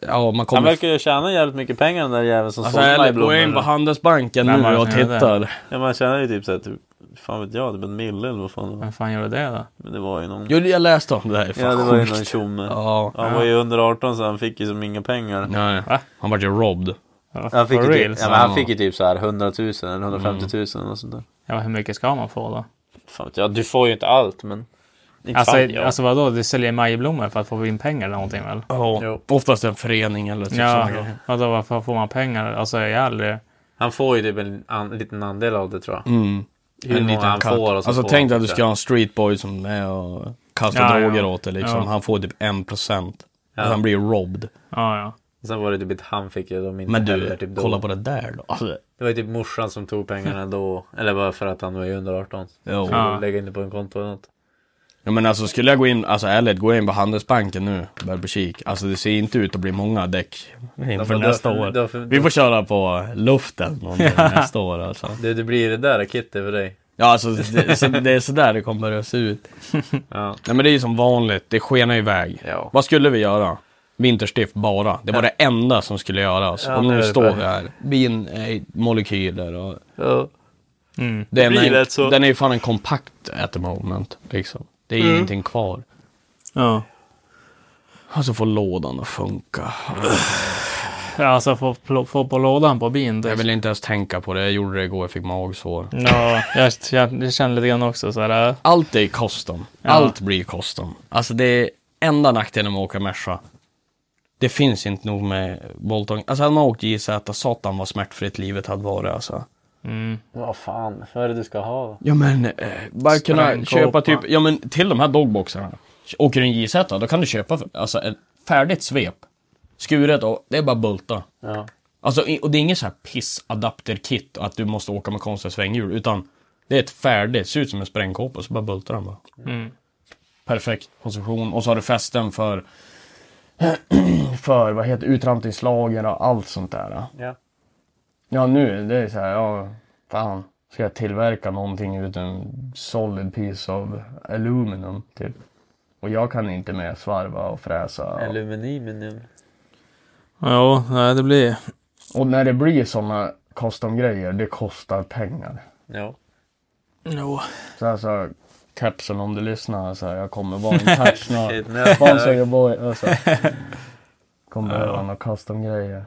Speaker 2: ja man
Speaker 3: Han
Speaker 2: kommer...
Speaker 3: verkar ju tjäna jävligt mycket pengar den där jäveln som
Speaker 2: Alltså
Speaker 3: sålde
Speaker 2: ärligt, gå in på
Speaker 3: majblommor.
Speaker 2: Handelsbanken
Speaker 1: Nej,
Speaker 2: nu
Speaker 1: man-
Speaker 2: och
Speaker 1: ja, det-
Speaker 2: tittar.
Speaker 3: Ja, man tjänar ju typ såhär, typ, fan vet jag, typ en mille eller vad fan det var.
Speaker 1: Vem fan gjorde det då?
Speaker 3: Men det var ju någon.
Speaker 2: Jo, jag läste om det där. Fan,
Speaker 3: Ja, det var ju
Speaker 2: sjukt.
Speaker 3: någon tjomme.
Speaker 2: Ja.
Speaker 3: Han var ju under 18 så han fick ju som inga pengar.
Speaker 2: Nej, han vart ju robbed.
Speaker 3: Han fick,
Speaker 1: For
Speaker 3: ju typ,
Speaker 1: real?
Speaker 3: ja, men han fick ju typ så här 100 000 eller 150 000 och sånt
Speaker 2: Mm.
Speaker 3: där.
Speaker 1: Ja, hur mycket ska man få då?
Speaker 3: Fan vet jag, du får ju inte allt men... Inte
Speaker 1: Alltså,
Speaker 3: fan, jag.
Speaker 1: alltså vadå, du säljer majblommor för att få in pengar eller någonting väl?
Speaker 2: Ja,
Speaker 3: Jo.
Speaker 2: oftast en förening eller typ
Speaker 1: Ja,
Speaker 2: sådana grejer.
Speaker 1: vadå, varför får man pengar? Alltså jag är aldrig...
Speaker 3: Han får ju typ en an, liten andel av det tror jag.
Speaker 2: Mm.
Speaker 3: Hur
Speaker 2: En
Speaker 3: många
Speaker 2: liten
Speaker 3: han
Speaker 2: katt.
Speaker 3: får och så
Speaker 2: Alltså
Speaker 3: får
Speaker 2: tänk dig
Speaker 3: han
Speaker 2: att du
Speaker 3: typ
Speaker 2: ska ha en streetboy som är med och kastar
Speaker 1: Ja, ja.
Speaker 2: droger åt dig liksom.
Speaker 1: Ja.
Speaker 2: Han får typ 1%.
Speaker 3: Ja.
Speaker 2: Att han blir robbed.
Speaker 1: Ja, ja.
Speaker 3: Sen var det typ ett han fick ju de inte
Speaker 2: Men
Speaker 3: heller
Speaker 2: du,
Speaker 3: typ då.
Speaker 2: kolla på det där då. Alltså,
Speaker 3: Det var ju typ morsan som tog pengarna då. Eller bara för att han var ju under 18.
Speaker 2: jo.
Speaker 1: Ja.
Speaker 3: Lägga in det på en konto eller något.
Speaker 2: ja. men alltså skulle jag gå in, alltså ärligt, gå in på Handelsbanken nu. Börja på kik. Alltså det ser inte ut att bli många däck inför
Speaker 3: får-
Speaker 2: nästa
Speaker 3: de-
Speaker 2: år.
Speaker 3: de får-
Speaker 2: Vi får köra på luften någon gång nästa år alltså.
Speaker 3: Det, det blir det där kittet för dig.
Speaker 2: Ja alltså det, så, det är sådär det kommer att se ut.
Speaker 3: Ja.
Speaker 2: Nej men det är ju som vanligt, det skenar iväg.
Speaker 3: Ja.
Speaker 2: Vad skulle vi göra? Vinterstift bara. Det var det enda som skulle göras.
Speaker 3: Ja,
Speaker 2: och
Speaker 3: nu är
Speaker 2: nu
Speaker 3: det
Speaker 2: står
Speaker 3: bara-
Speaker 2: vi här. Bin är molekyler och...
Speaker 3: Ja.
Speaker 1: Mm.
Speaker 2: Det enda-
Speaker 3: blir rätt så.
Speaker 2: Den är ju fan en kompakt at the moment. Liksom. Det är
Speaker 3: Mm.
Speaker 2: ingenting kvar.
Speaker 1: Ja.
Speaker 2: Alltså få lådan att funka.
Speaker 1: Alltså få, pl- få på lådan på bin.
Speaker 2: Jag
Speaker 1: typ.
Speaker 2: vill inte ens tänka på det. Jag gjorde det igår, jag fick magsår.
Speaker 1: Ja, jag känner, jag känner lite grann också så här. äh,
Speaker 2: Allt är custom. Allt blir custom. Alltså det är enda nackdelen med att åka Merca. Det finns inte nog med Bolton. Alltså hade man åkt JZ, satan vad smärtfritt livet hade varit alltså.
Speaker 3: Vad fan, vad är det du ska ha då?
Speaker 2: Ja men, eh, bara kunna
Speaker 1: Sprängkåpa.
Speaker 2: köpa typ, ja men till de här dogboxarna. Åker du en JZ då kan du köpa alltså ett färdigt svep. Skuret och det är bara bulta.
Speaker 3: Ja.
Speaker 2: Alltså, i- och det är inget så här pissadapterkit att du måste åka med
Speaker 1: Mm.
Speaker 2: konstiga svänghjul utan det är ett färdigt, ser ut som en sprängkåpa och så bara bultar den bara. perfekt position. Och så har du fästen för, för vad heter det, utrampningslager och allt sånt där.
Speaker 3: Ja.
Speaker 2: Ja nu, det är så här, ja fan. Ska jag tillverka någonting ut en solid piece of aluminum typ. Och jag kan inte med svarva och fräsa. och-
Speaker 3: Aluminium.
Speaker 1: Jo, nej, det blir...
Speaker 2: Och när det blir sådana custom-grejer, det kostar pengar.
Speaker 3: Ja.
Speaker 1: Jo.
Speaker 2: Så alltså, Capson om du lyssnar, så här, jag kommer vara en touch snart.
Speaker 3: Shit, nu har
Speaker 2: Sponsor
Speaker 3: jag-
Speaker 2: your boy. Alltså. Kommer behöva några custom-grejer.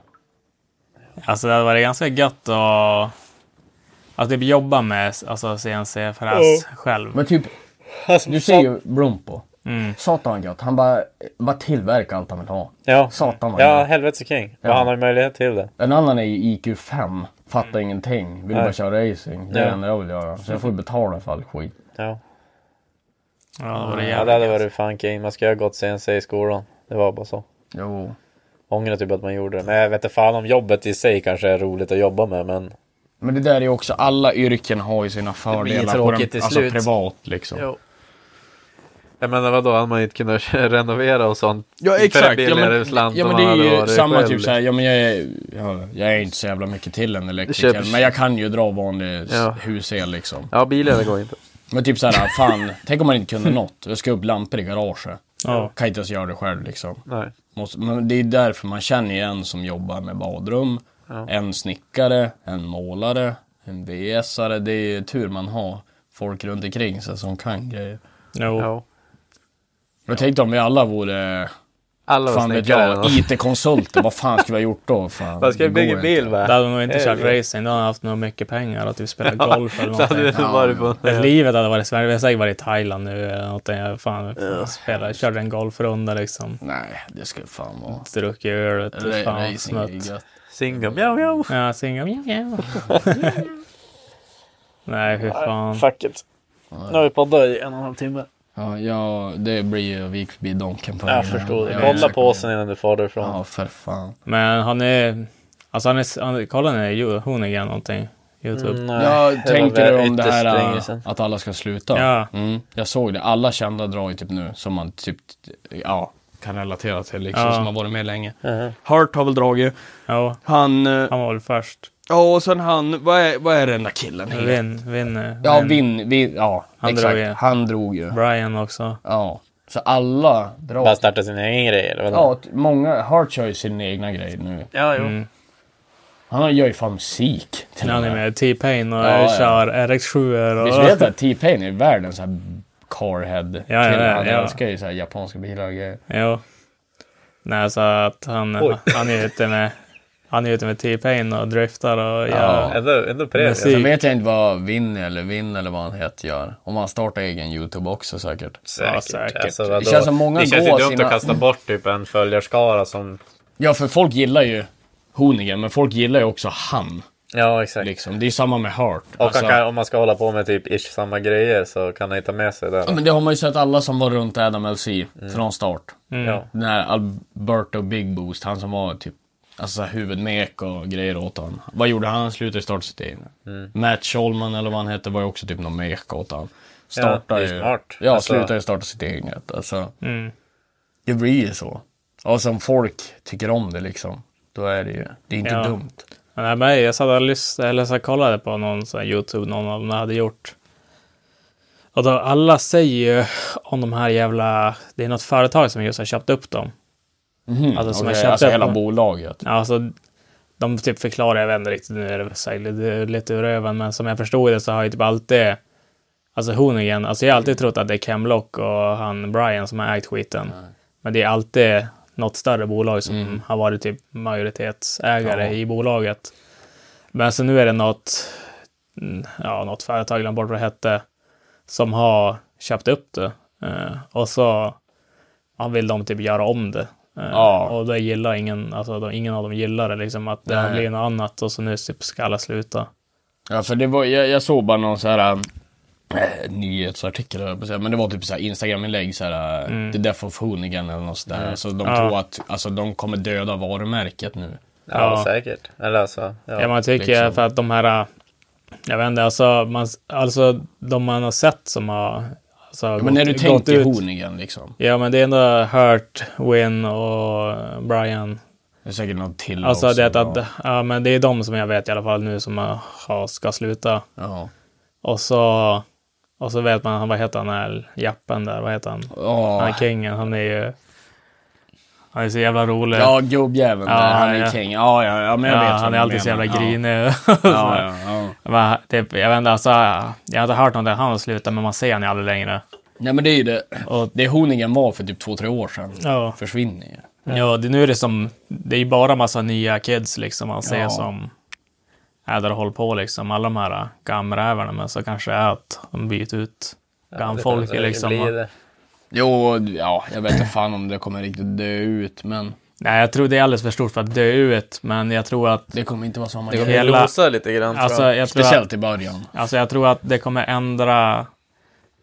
Speaker 1: Alltså det hade varit ganska gött att... Att typ jobba med alltså, CNC-fräs själv.
Speaker 2: Men typ,
Speaker 3: Alltså,
Speaker 2: du ser ju Brumpo.
Speaker 3: Mm.
Speaker 2: Satan vad gött. Han bara, bara tillverkar allt han vill ha.
Speaker 3: Ja.
Speaker 2: Satan vad
Speaker 3: Ja,
Speaker 2: gött.
Speaker 3: helvetes king.
Speaker 2: Ja.
Speaker 3: Och han har ju möjlighet till det.
Speaker 2: En annan är ju IQ5. Fattar ingenting. Vill
Speaker 3: Mm. Nej.
Speaker 2: bara köra racing. Det är
Speaker 3: Ja.
Speaker 2: det enda jag vill göra. Så jag får ju betala för all skit.
Speaker 3: Ja.
Speaker 1: Ja, det hade varit
Speaker 3: ja,
Speaker 1: jävligt
Speaker 3: det hade
Speaker 1: gött.
Speaker 3: varit fan king. Man ska ha gått CNC i skolan. Det var bara så.
Speaker 2: Jo.
Speaker 3: Ångrar typ att man gjorde det. Men jag vet inte fan om jobbet i sig kanske är roligt att jobba med, men
Speaker 2: Men det där är ju också, alla yrken har ju sina fördelar. på
Speaker 3: tråkigt
Speaker 2: den-
Speaker 3: till
Speaker 2: alltså
Speaker 3: slut.
Speaker 2: privat liksom.
Speaker 3: Jo. Jag menar vadå, hade man inte kunnat renovera och sånt?
Speaker 2: Ja
Speaker 3: För en
Speaker 2: exakt, ja
Speaker 3: billigare
Speaker 2: men,
Speaker 3: slant
Speaker 2: ja,
Speaker 3: om
Speaker 2: men det
Speaker 3: man hade
Speaker 2: är ju
Speaker 3: varit
Speaker 2: samma
Speaker 3: själv. liksom.
Speaker 2: typ såhär, ja men jag är, ja, jag är inte så jävla mycket till en elektriker.
Speaker 3: Köp-
Speaker 2: Men jag kan ju dra vanlig ja.
Speaker 3: Ja.
Speaker 2: husel liksom.
Speaker 3: Ja, bilar det går inte.
Speaker 2: Men typ såhär, fan, tänk om man inte kunde något. Jag ska upp lampor i garaget.
Speaker 1: Ja.
Speaker 2: Kan inte ens göra det själv liksom.
Speaker 3: Nej.
Speaker 2: Måste, men det är därför man känner ju en som jobbar med badrum, en snickare, en målare, en VS-are. Det är ju tur man har folk runt omkring sig som kan grejer.
Speaker 1: Jo.
Speaker 3: Ja.
Speaker 2: Jag tänkte om vi alla vore,
Speaker 3: Alla var
Speaker 2: fan vet
Speaker 3: snickare. eller
Speaker 2: jag,
Speaker 3: något.
Speaker 2: IT-konsulter. Vad fan skulle vi ha gjort då? Fan,
Speaker 3: Fan, Ska jag
Speaker 2: det går
Speaker 3: bygga
Speaker 2: ju
Speaker 3: bil
Speaker 1: Det
Speaker 3: va?
Speaker 1: hade nog inte kört
Speaker 3: Helvete.
Speaker 1: racing. Då hade han haft nog mycket pengar och typ spelat golf eller
Speaker 3: Det hade
Speaker 1: någonting.
Speaker 3: det varit på.
Speaker 1: Det livet hade varit Sverige. Vi har säkert varit i Thailand nu eller någonting. Jag fan, spelade, körde en golfrunda liksom.
Speaker 2: Nej, det skulle fan vara...
Speaker 1: Druckit öl. vet du,
Speaker 2: Ra-
Speaker 1: Fan,
Speaker 2: Racing är ju
Speaker 1: snött.
Speaker 2: gött.
Speaker 3: Singa, mjau mjau.
Speaker 1: Ja, singa. Nej, hur fan.
Speaker 3: Fuck it. Nu har vi poddat i en och en halv timme.
Speaker 2: Ja, ja, det blir ju vi gick förbi Donken-kampanjen.
Speaker 3: Jag förstår det.
Speaker 2: Ja,
Speaker 3: Kolla
Speaker 2: exakt.
Speaker 3: påsen innan du far därifrån.
Speaker 2: Ja, för fan.
Speaker 1: Men han är... Alltså han är... Han, kolla nu, Ju- Honigan någonting. Youtube.
Speaker 3: Nej, det
Speaker 2: Ja,
Speaker 3: var
Speaker 2: tänkte
Speaker 3: väl
Speaker 2: du om det
Speaker 3: ytterst
Speaker 2: här
Speaker 3: länge
Speaker 2: äh,
Speaker 3: sedan.
Speaker 2: att alla ska sluta?
Speaker 1: Ja.
Speaker 2: Mm, jag såg det. Alla kända drar ju typ nu som man typ, ja, kan relatera till liksom,
Speaker 1: Ja.
Speaker 2: som har varit med länge.
Speaker 3: Mhm.
Speaker 2: Hurt har väl dragit.
Speaker 1: Ja,
Speaker 2: Han, eh,
Speaker 1: han var väl först.
Speaker 2: ja och sen han, vad är, vad är den där killen heter?
Speaker 1: Vinn, vinn.
Speaker 2: Ja, Vinn, vin, ja,
Speaker 1: Han
Speaker 2: exakt.
Speaker 1: drog ju.
Speaker 2: Han drog ju.
Speaker 1: Brian också.
Speaker 2: Ja. Så alla drar.
Speaker 3: Bara starta sin egen grej eller vadå?
Speaker 2: Ja, Mm. t- många, Hart kör ju sin egna grej nu.
Speaker 3: Ja, jo.
Speaker 2: Han gör ju fan musik till
Speaker 1: Han
Speaker 2: och
Speaker 1: är
Speaker 2: med.
Speaker 1: med T-Pain och
Speaker 2: Ja, ja.
Speaker 1: kör RX7 och...
Speaker 2: Visst vet du att T-Pain är världens så här carhead
Speaker 1: Ja, ja, ja,
Speaker 2: Han
Speaker 1: ja.
Speaker 2: älskar ju så här japanska bilar och grejer.
Speaker 1: Jo. Nej, så att han, han är ute med... Han är ute med T-Pain och driftar och gör...
Speaker 2: Ja.
Speaker 3: Ändå, ändå premie.
Speaker 1: Musik.
Speaker 2: Sen vet jag inte vad Vinny eller Vinn eller vad han heter gör. Om han startar egen YouTube också säkert.
Speaker 1: Ja, säkert.
Speaker 3: Alltså, vadå?
Speaker 2: Det känns som många
Speaker 3: det känns
Speaker 2: går
Speaker 3: ju dumt
Speaker 2: sina-
Speaker 3: att kasta bort typ en följarskara som...
Speaker 2: Ja, för folk gillar ju Honigen, men folk gillar ju också han.
Speaker 3: Ja, exakt.
Speaker 2: Liksom. Det är samma med Hart.
Speaker 3: Och
Speaker 2: Alltså,
Speaker 3: han kan, om man ska hålla på med typ ish samma grejer så kan han inte ta med sig det.
Speaker 2: ja, men det har man ju sett alla som var runt Adam LC från start.
Speaker 1: Mm.
Speaker 3: Ja.
Speaker 2: Den här Alberto Big Boost, han som var typ alltså, så här huvudmek och grejer åt honom. Vad gjorde han? Han slutade starta sitt eget.
Speaker 3: Mm.
Speaker 2: Matt Scholman eller vad han hette var ju också typ någon mek åt honom. Startade
Speaker 3: Ja, det är
Speaker 2: ju,
Speaker 3: smart.
Speaker 2: Ja,
Speaker 3: Alltså- Mm.
Speaker 2: slutade ju starta sitt eget. Alltså, Det blir ju så. Och som folk tycker om det liksom. Då är det ju, det är inte
Speaker 1: Ja.
Speaker 2: dumt.
Speaker 1: Nej, men jag satt och lyssnade, eller så kollade på någon sån här YouTube någon av dem hade gjort. Och då alla säger ju om de här jävla, det är något företag som just har köpt upp dem. Alltså som
Speaker 2: Okej,
Speaker 1: har köpt
Speaker 2: alltså
Speaker 1: upp
Speaker 2: hela
Speaker 1: dem.
Speaker 2: bolaget.
Speaker 1: Ja, Alltså, de typ förklarar, jag vet inte riktigt, nu är det säkert lite, lite ur öven, men som jag förstod det så har ju typ alltid, alltså Honigen, alltså jag har alltid trott att det är Kemlock och han Brian som har ägt skiten. Men det är alltid något större bolag som har varit typ majoritetsägare
Speaker 2: Mm. Ja.
Speaker 1: i bolaget. Men så nu är det något, mm, ja, något företag, jag glömde bort vad det hette, som har köpt upp det. Eh, och så ja, vill de typ göra om det. Eh,
Speaker 2: Ja.
Speaker 1: Och det gillar ingen, alltså de, ingen av dem gillar det liksom att det har
Speaker 2: Nej.
Speaker 1: blivit något annat och så nu typ ska alla sluta.
Speaker 2: Ja, för det var, jag, jag såg bara någon så här äh, nyhetsartikel, höll jag på att säga. men det var typ så här Instagram-inlägg så här, äh, the death of Hoonigan eller något sådär. Så de
Speaker 1: Mm. Ja.
Speaker 2: tror att, alltså de kommer döda varumärket nu.
Speaker 3: Ja,
Speaker 1: Ja.
Speaker 3: säkert. Eller alltså...
Speaker 1: Ja,
Speaker 3: Ja.
Speaker 1: man tycker
Speaker 2: liksom.
Speaker 1: för att de här, jag vet inte, alltså, man, alltså de man har sett som har Alltså,
Speaker 2: Ja, men när du
Speaker 1: gått
Speaker 2: tänker
Speaker 1: ut-
Speaker 2: Honigan liksom.
Speaker 1: Ja, men det är ändå Hurt, Win och Brian.
Speaker 2: Det är säkert något till
Speaker 1: Alltså
Speaker 2: också,
Speaker 1: det att, att,
Speaker 2: ja.
Speaker 1: ja, men det är de som jag vet i alla fall nu som eh, har- ska sluta.
Speaker 2: Ja.
Speaker 1: Och så, och så vet man, vad heter han här, jappen där, vad heter han? Han
Speaker 2: Ja,
Speaker 1: är kingen, han är ju... Han är så jävla rolig.
Speaker 2: ja gubbjäveln
Speaker 1: Ja,
Speaker 2: där, han är
Speaker 1: ja.
Speaker 2: king. Ja, ja, ja, men jag
Speaker 1: Ja,
Speaker 2: vet vad
Speaker 1: han
Speaker 2: du
Speaker 1: är alltid
Speaker 2: menar.
Speaker 1: så jävla
Speaker 2: Ja.
Speaker 1: grinig.
Speaker 2: Ja, ja, ja.
Speaker 1: Men typ, jag vet inte, alltså, jag har inte hört någonting om han slutar, men man ser han ju aldrig längre.
Speaker 2: Nej men det är ju det.
Speaker 1: Och-
Speaker 2: Det Honigan var för typ två, tre år sedan
Speaker 1: Ja.
Speaker 2: försvinner ju.
Speaker 1: Ja, det, nu är det som, det är ju bara massa nya kids liksom man ser
Speaker 2: Ja.
Speaker 1: som är där och håller på liksom. Alla de här gamrävarna, men så kanske är att de byter ut gamfolket liksom.
Speaker 3: Det blir det.
Speaker 2: Jo, ja, jag vet inte fan om det kommer riktigt dö ut, men
Speaker 1: Nej, jag tror det är alldeles för stort för att dö ut, men jag tror att...
Speaker 2: det kommer inte vara samma
Speaker 3: Det
Speaker 2: grej.
Speaker 3: kommer
Speaker 1: Hela-
Speaker 3: losa lite grann
Speaker 1: Alltså,
Speaker 3: tror jag.
Speaker 1: jag tror att,
Speaker 2: Speciellt i början.
Speaker 1: alltså, jag tror att det kommer ändra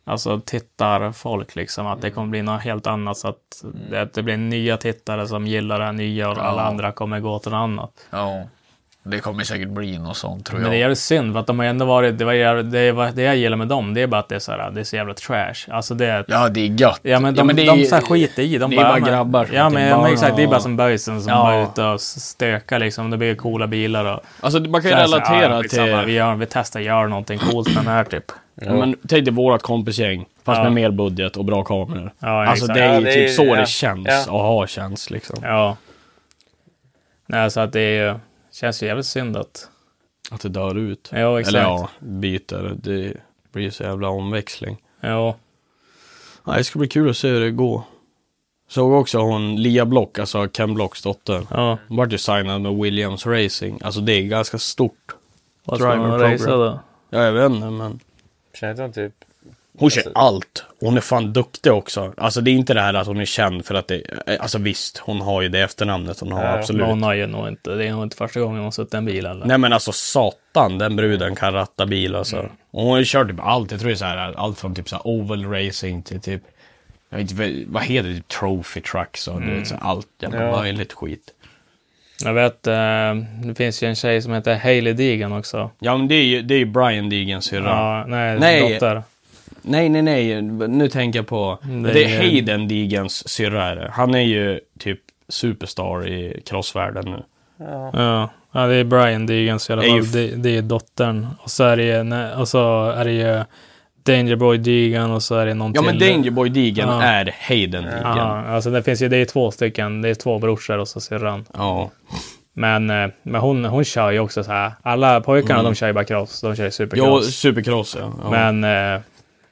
Speaker 1: alltså, tittarfolk, liksom. Att det
Speaker 2: Mm.
Speaker 1: kommer bli något helt annat. Så att det, att det blir nya tittare som gillar det här nya och alla
Speaker 2: Ja.
Speaker 1: andra kommer gå till något annat.
Speaker 2: Ja. Det kommer säkert bli något sånt tror
Speaker 1: Men det är
Speaker 2: jag.
Speaker 1: jävligt synd, för att de har ändå varit... Det, var, jävligt- det, var, det jag gillar med dem, det är bara att det är så, här, det är så jävla trash. Alltså det... är-
Speaker 2: Ja, det är gött.
Speaker 1: Ja men de,
Speaker 2: det är-
Speaker 1: de så här skiter i. De
Speaker 2: det är bara
Speaker 1: men-
Speaker 2: grabbar som
Speaker 1: Ja
Speaker 2: inte
Speaker 1: men,
Speaker 2: bara-
Speaker 1: men exakt, det är bara som böjsen som
Speaker 2: Ja.
Speaker 1: bara är ute och stökar liksom. De bygger coola bilar och...
Speaker 2: Alltså man kan ju
Speaker 1: Så här, så här,
Speaker 2: relatera
Speaker 1: ja, skitsamma, Vi,
Speaker 2: till...
Speaker 1: gör, vi testar göra någonting coolt med den här typ.
Speaker 2: Ja. Men, tänk dig vårat kompisgäng, fast
Speaker 1: Ja.
Speaker 2: med mer budget och bra kameror.
Speaker 1: Ja,
Speaker 2: alltså
Speaker 1: exakt.
Speaker 2: det är
Speaker 3: Ja,
Speaker 2: ju
Speaker 3: det är-
Speaker 2: typ så
Speaker 3: ja.
Speaker 2: det känns
Speaker 3: Ja.
Speaker 2: att ha känns liksom.
Speaker 1: Ja. Nej så att det är ju... Känns ju jävligt synd att...
Speaker 2: Att det dör ut.
Speaker 1: Ja exakt.
Speaker 2: Eller ja, byter. Det blir så jävla omväxling.
Speaker 1: Ja.
Speaker 2: Nej, det ska bli kul att se hur det går. Såg också hon Lia Block, alltså Ken Blocks dotter.
Speaker 1: Ja.
Speaker 2: Hon vart ju signad med Williams Racing. Alltså det är ganska stort.
Speaker 1: Vad ska
Speaker 2: Driver
Speaker 1: man
Speaker 2: program.
Speaker 1: racea då?
Speaker 2: Ja, jag vet inte men.
Speaker 3: Känner inte hon typ...
Speaker 2: Hon kör allt. Hon är fan duktig också. Alltså det är inte det här att hon är känd för att det, eh, alltså visst, hon har ju det efternamnet hon har,
Speaker 3: Ja, ja.
Speaker 2: absolut.
Speaker 1: Men hon har ju nog inte... Det är nog inte första gången hon har suttit i en bil eller?
Speaker 2: Nej men alltså satan, den bruden kan ratta bil alltså. Och hon har ju kört typ allt, jag tror det är så här, allt från typ så här oval racing till typ, jag vet inte, vad heter det, typ trophy trucks och du vet så här, allt jävla
Speaker 3: Ja.
Speaker 2: möjligt skit.
Speaker 1: Jag vet, eh, det finns ju en tjej som heter Hailey Deegan också.
Speaker 2: Ja men det är ju, det är ju Brian Deegans syrra.
Speaker 1: Ja, nej,
Speaker 2: Nej.
Speaker 1: dotter.
Speaker 2: Nej nej nej, nu tänker jag på,
Speaker 1: Mm, Det
Speaker 2: det
Speaker 1: är-
Speaker 2: är Hayden Deegans syrra är det. Han är ju typ superstar i crossvärlden nu.
Speaker 1: Ja. ja, det är Brian Deegans i alla
Speaker 2: Är ju
Speaker 1: fall.
Speaker 2: f-
Speaker 1: Det, det är dottern. Och så är det, ju- nej, och så är det ju Dangerboy Deegan och så är det någon
Speaker 2: Ja
Speaker 1: till.
Speaker 2: men Dangerboy Deegan
Speaker 1: Ja.
Speaker 2: är Hayden
Speaker 1: Ja,
Speaker 2: Deegan. Ja.
Speaker 1: alltså det finns ju, det är två stycken, det är två brorsor och så syrran. Men, eh, men hon, hon kör ju också så här, alla pojkarna de kör ju bara cross, de kör ju
Speaker 2: Mm. Jo,
Speaker 1: supercross.
Speaker 2: supercross ja. ja.
Speaker 1: Men, eh,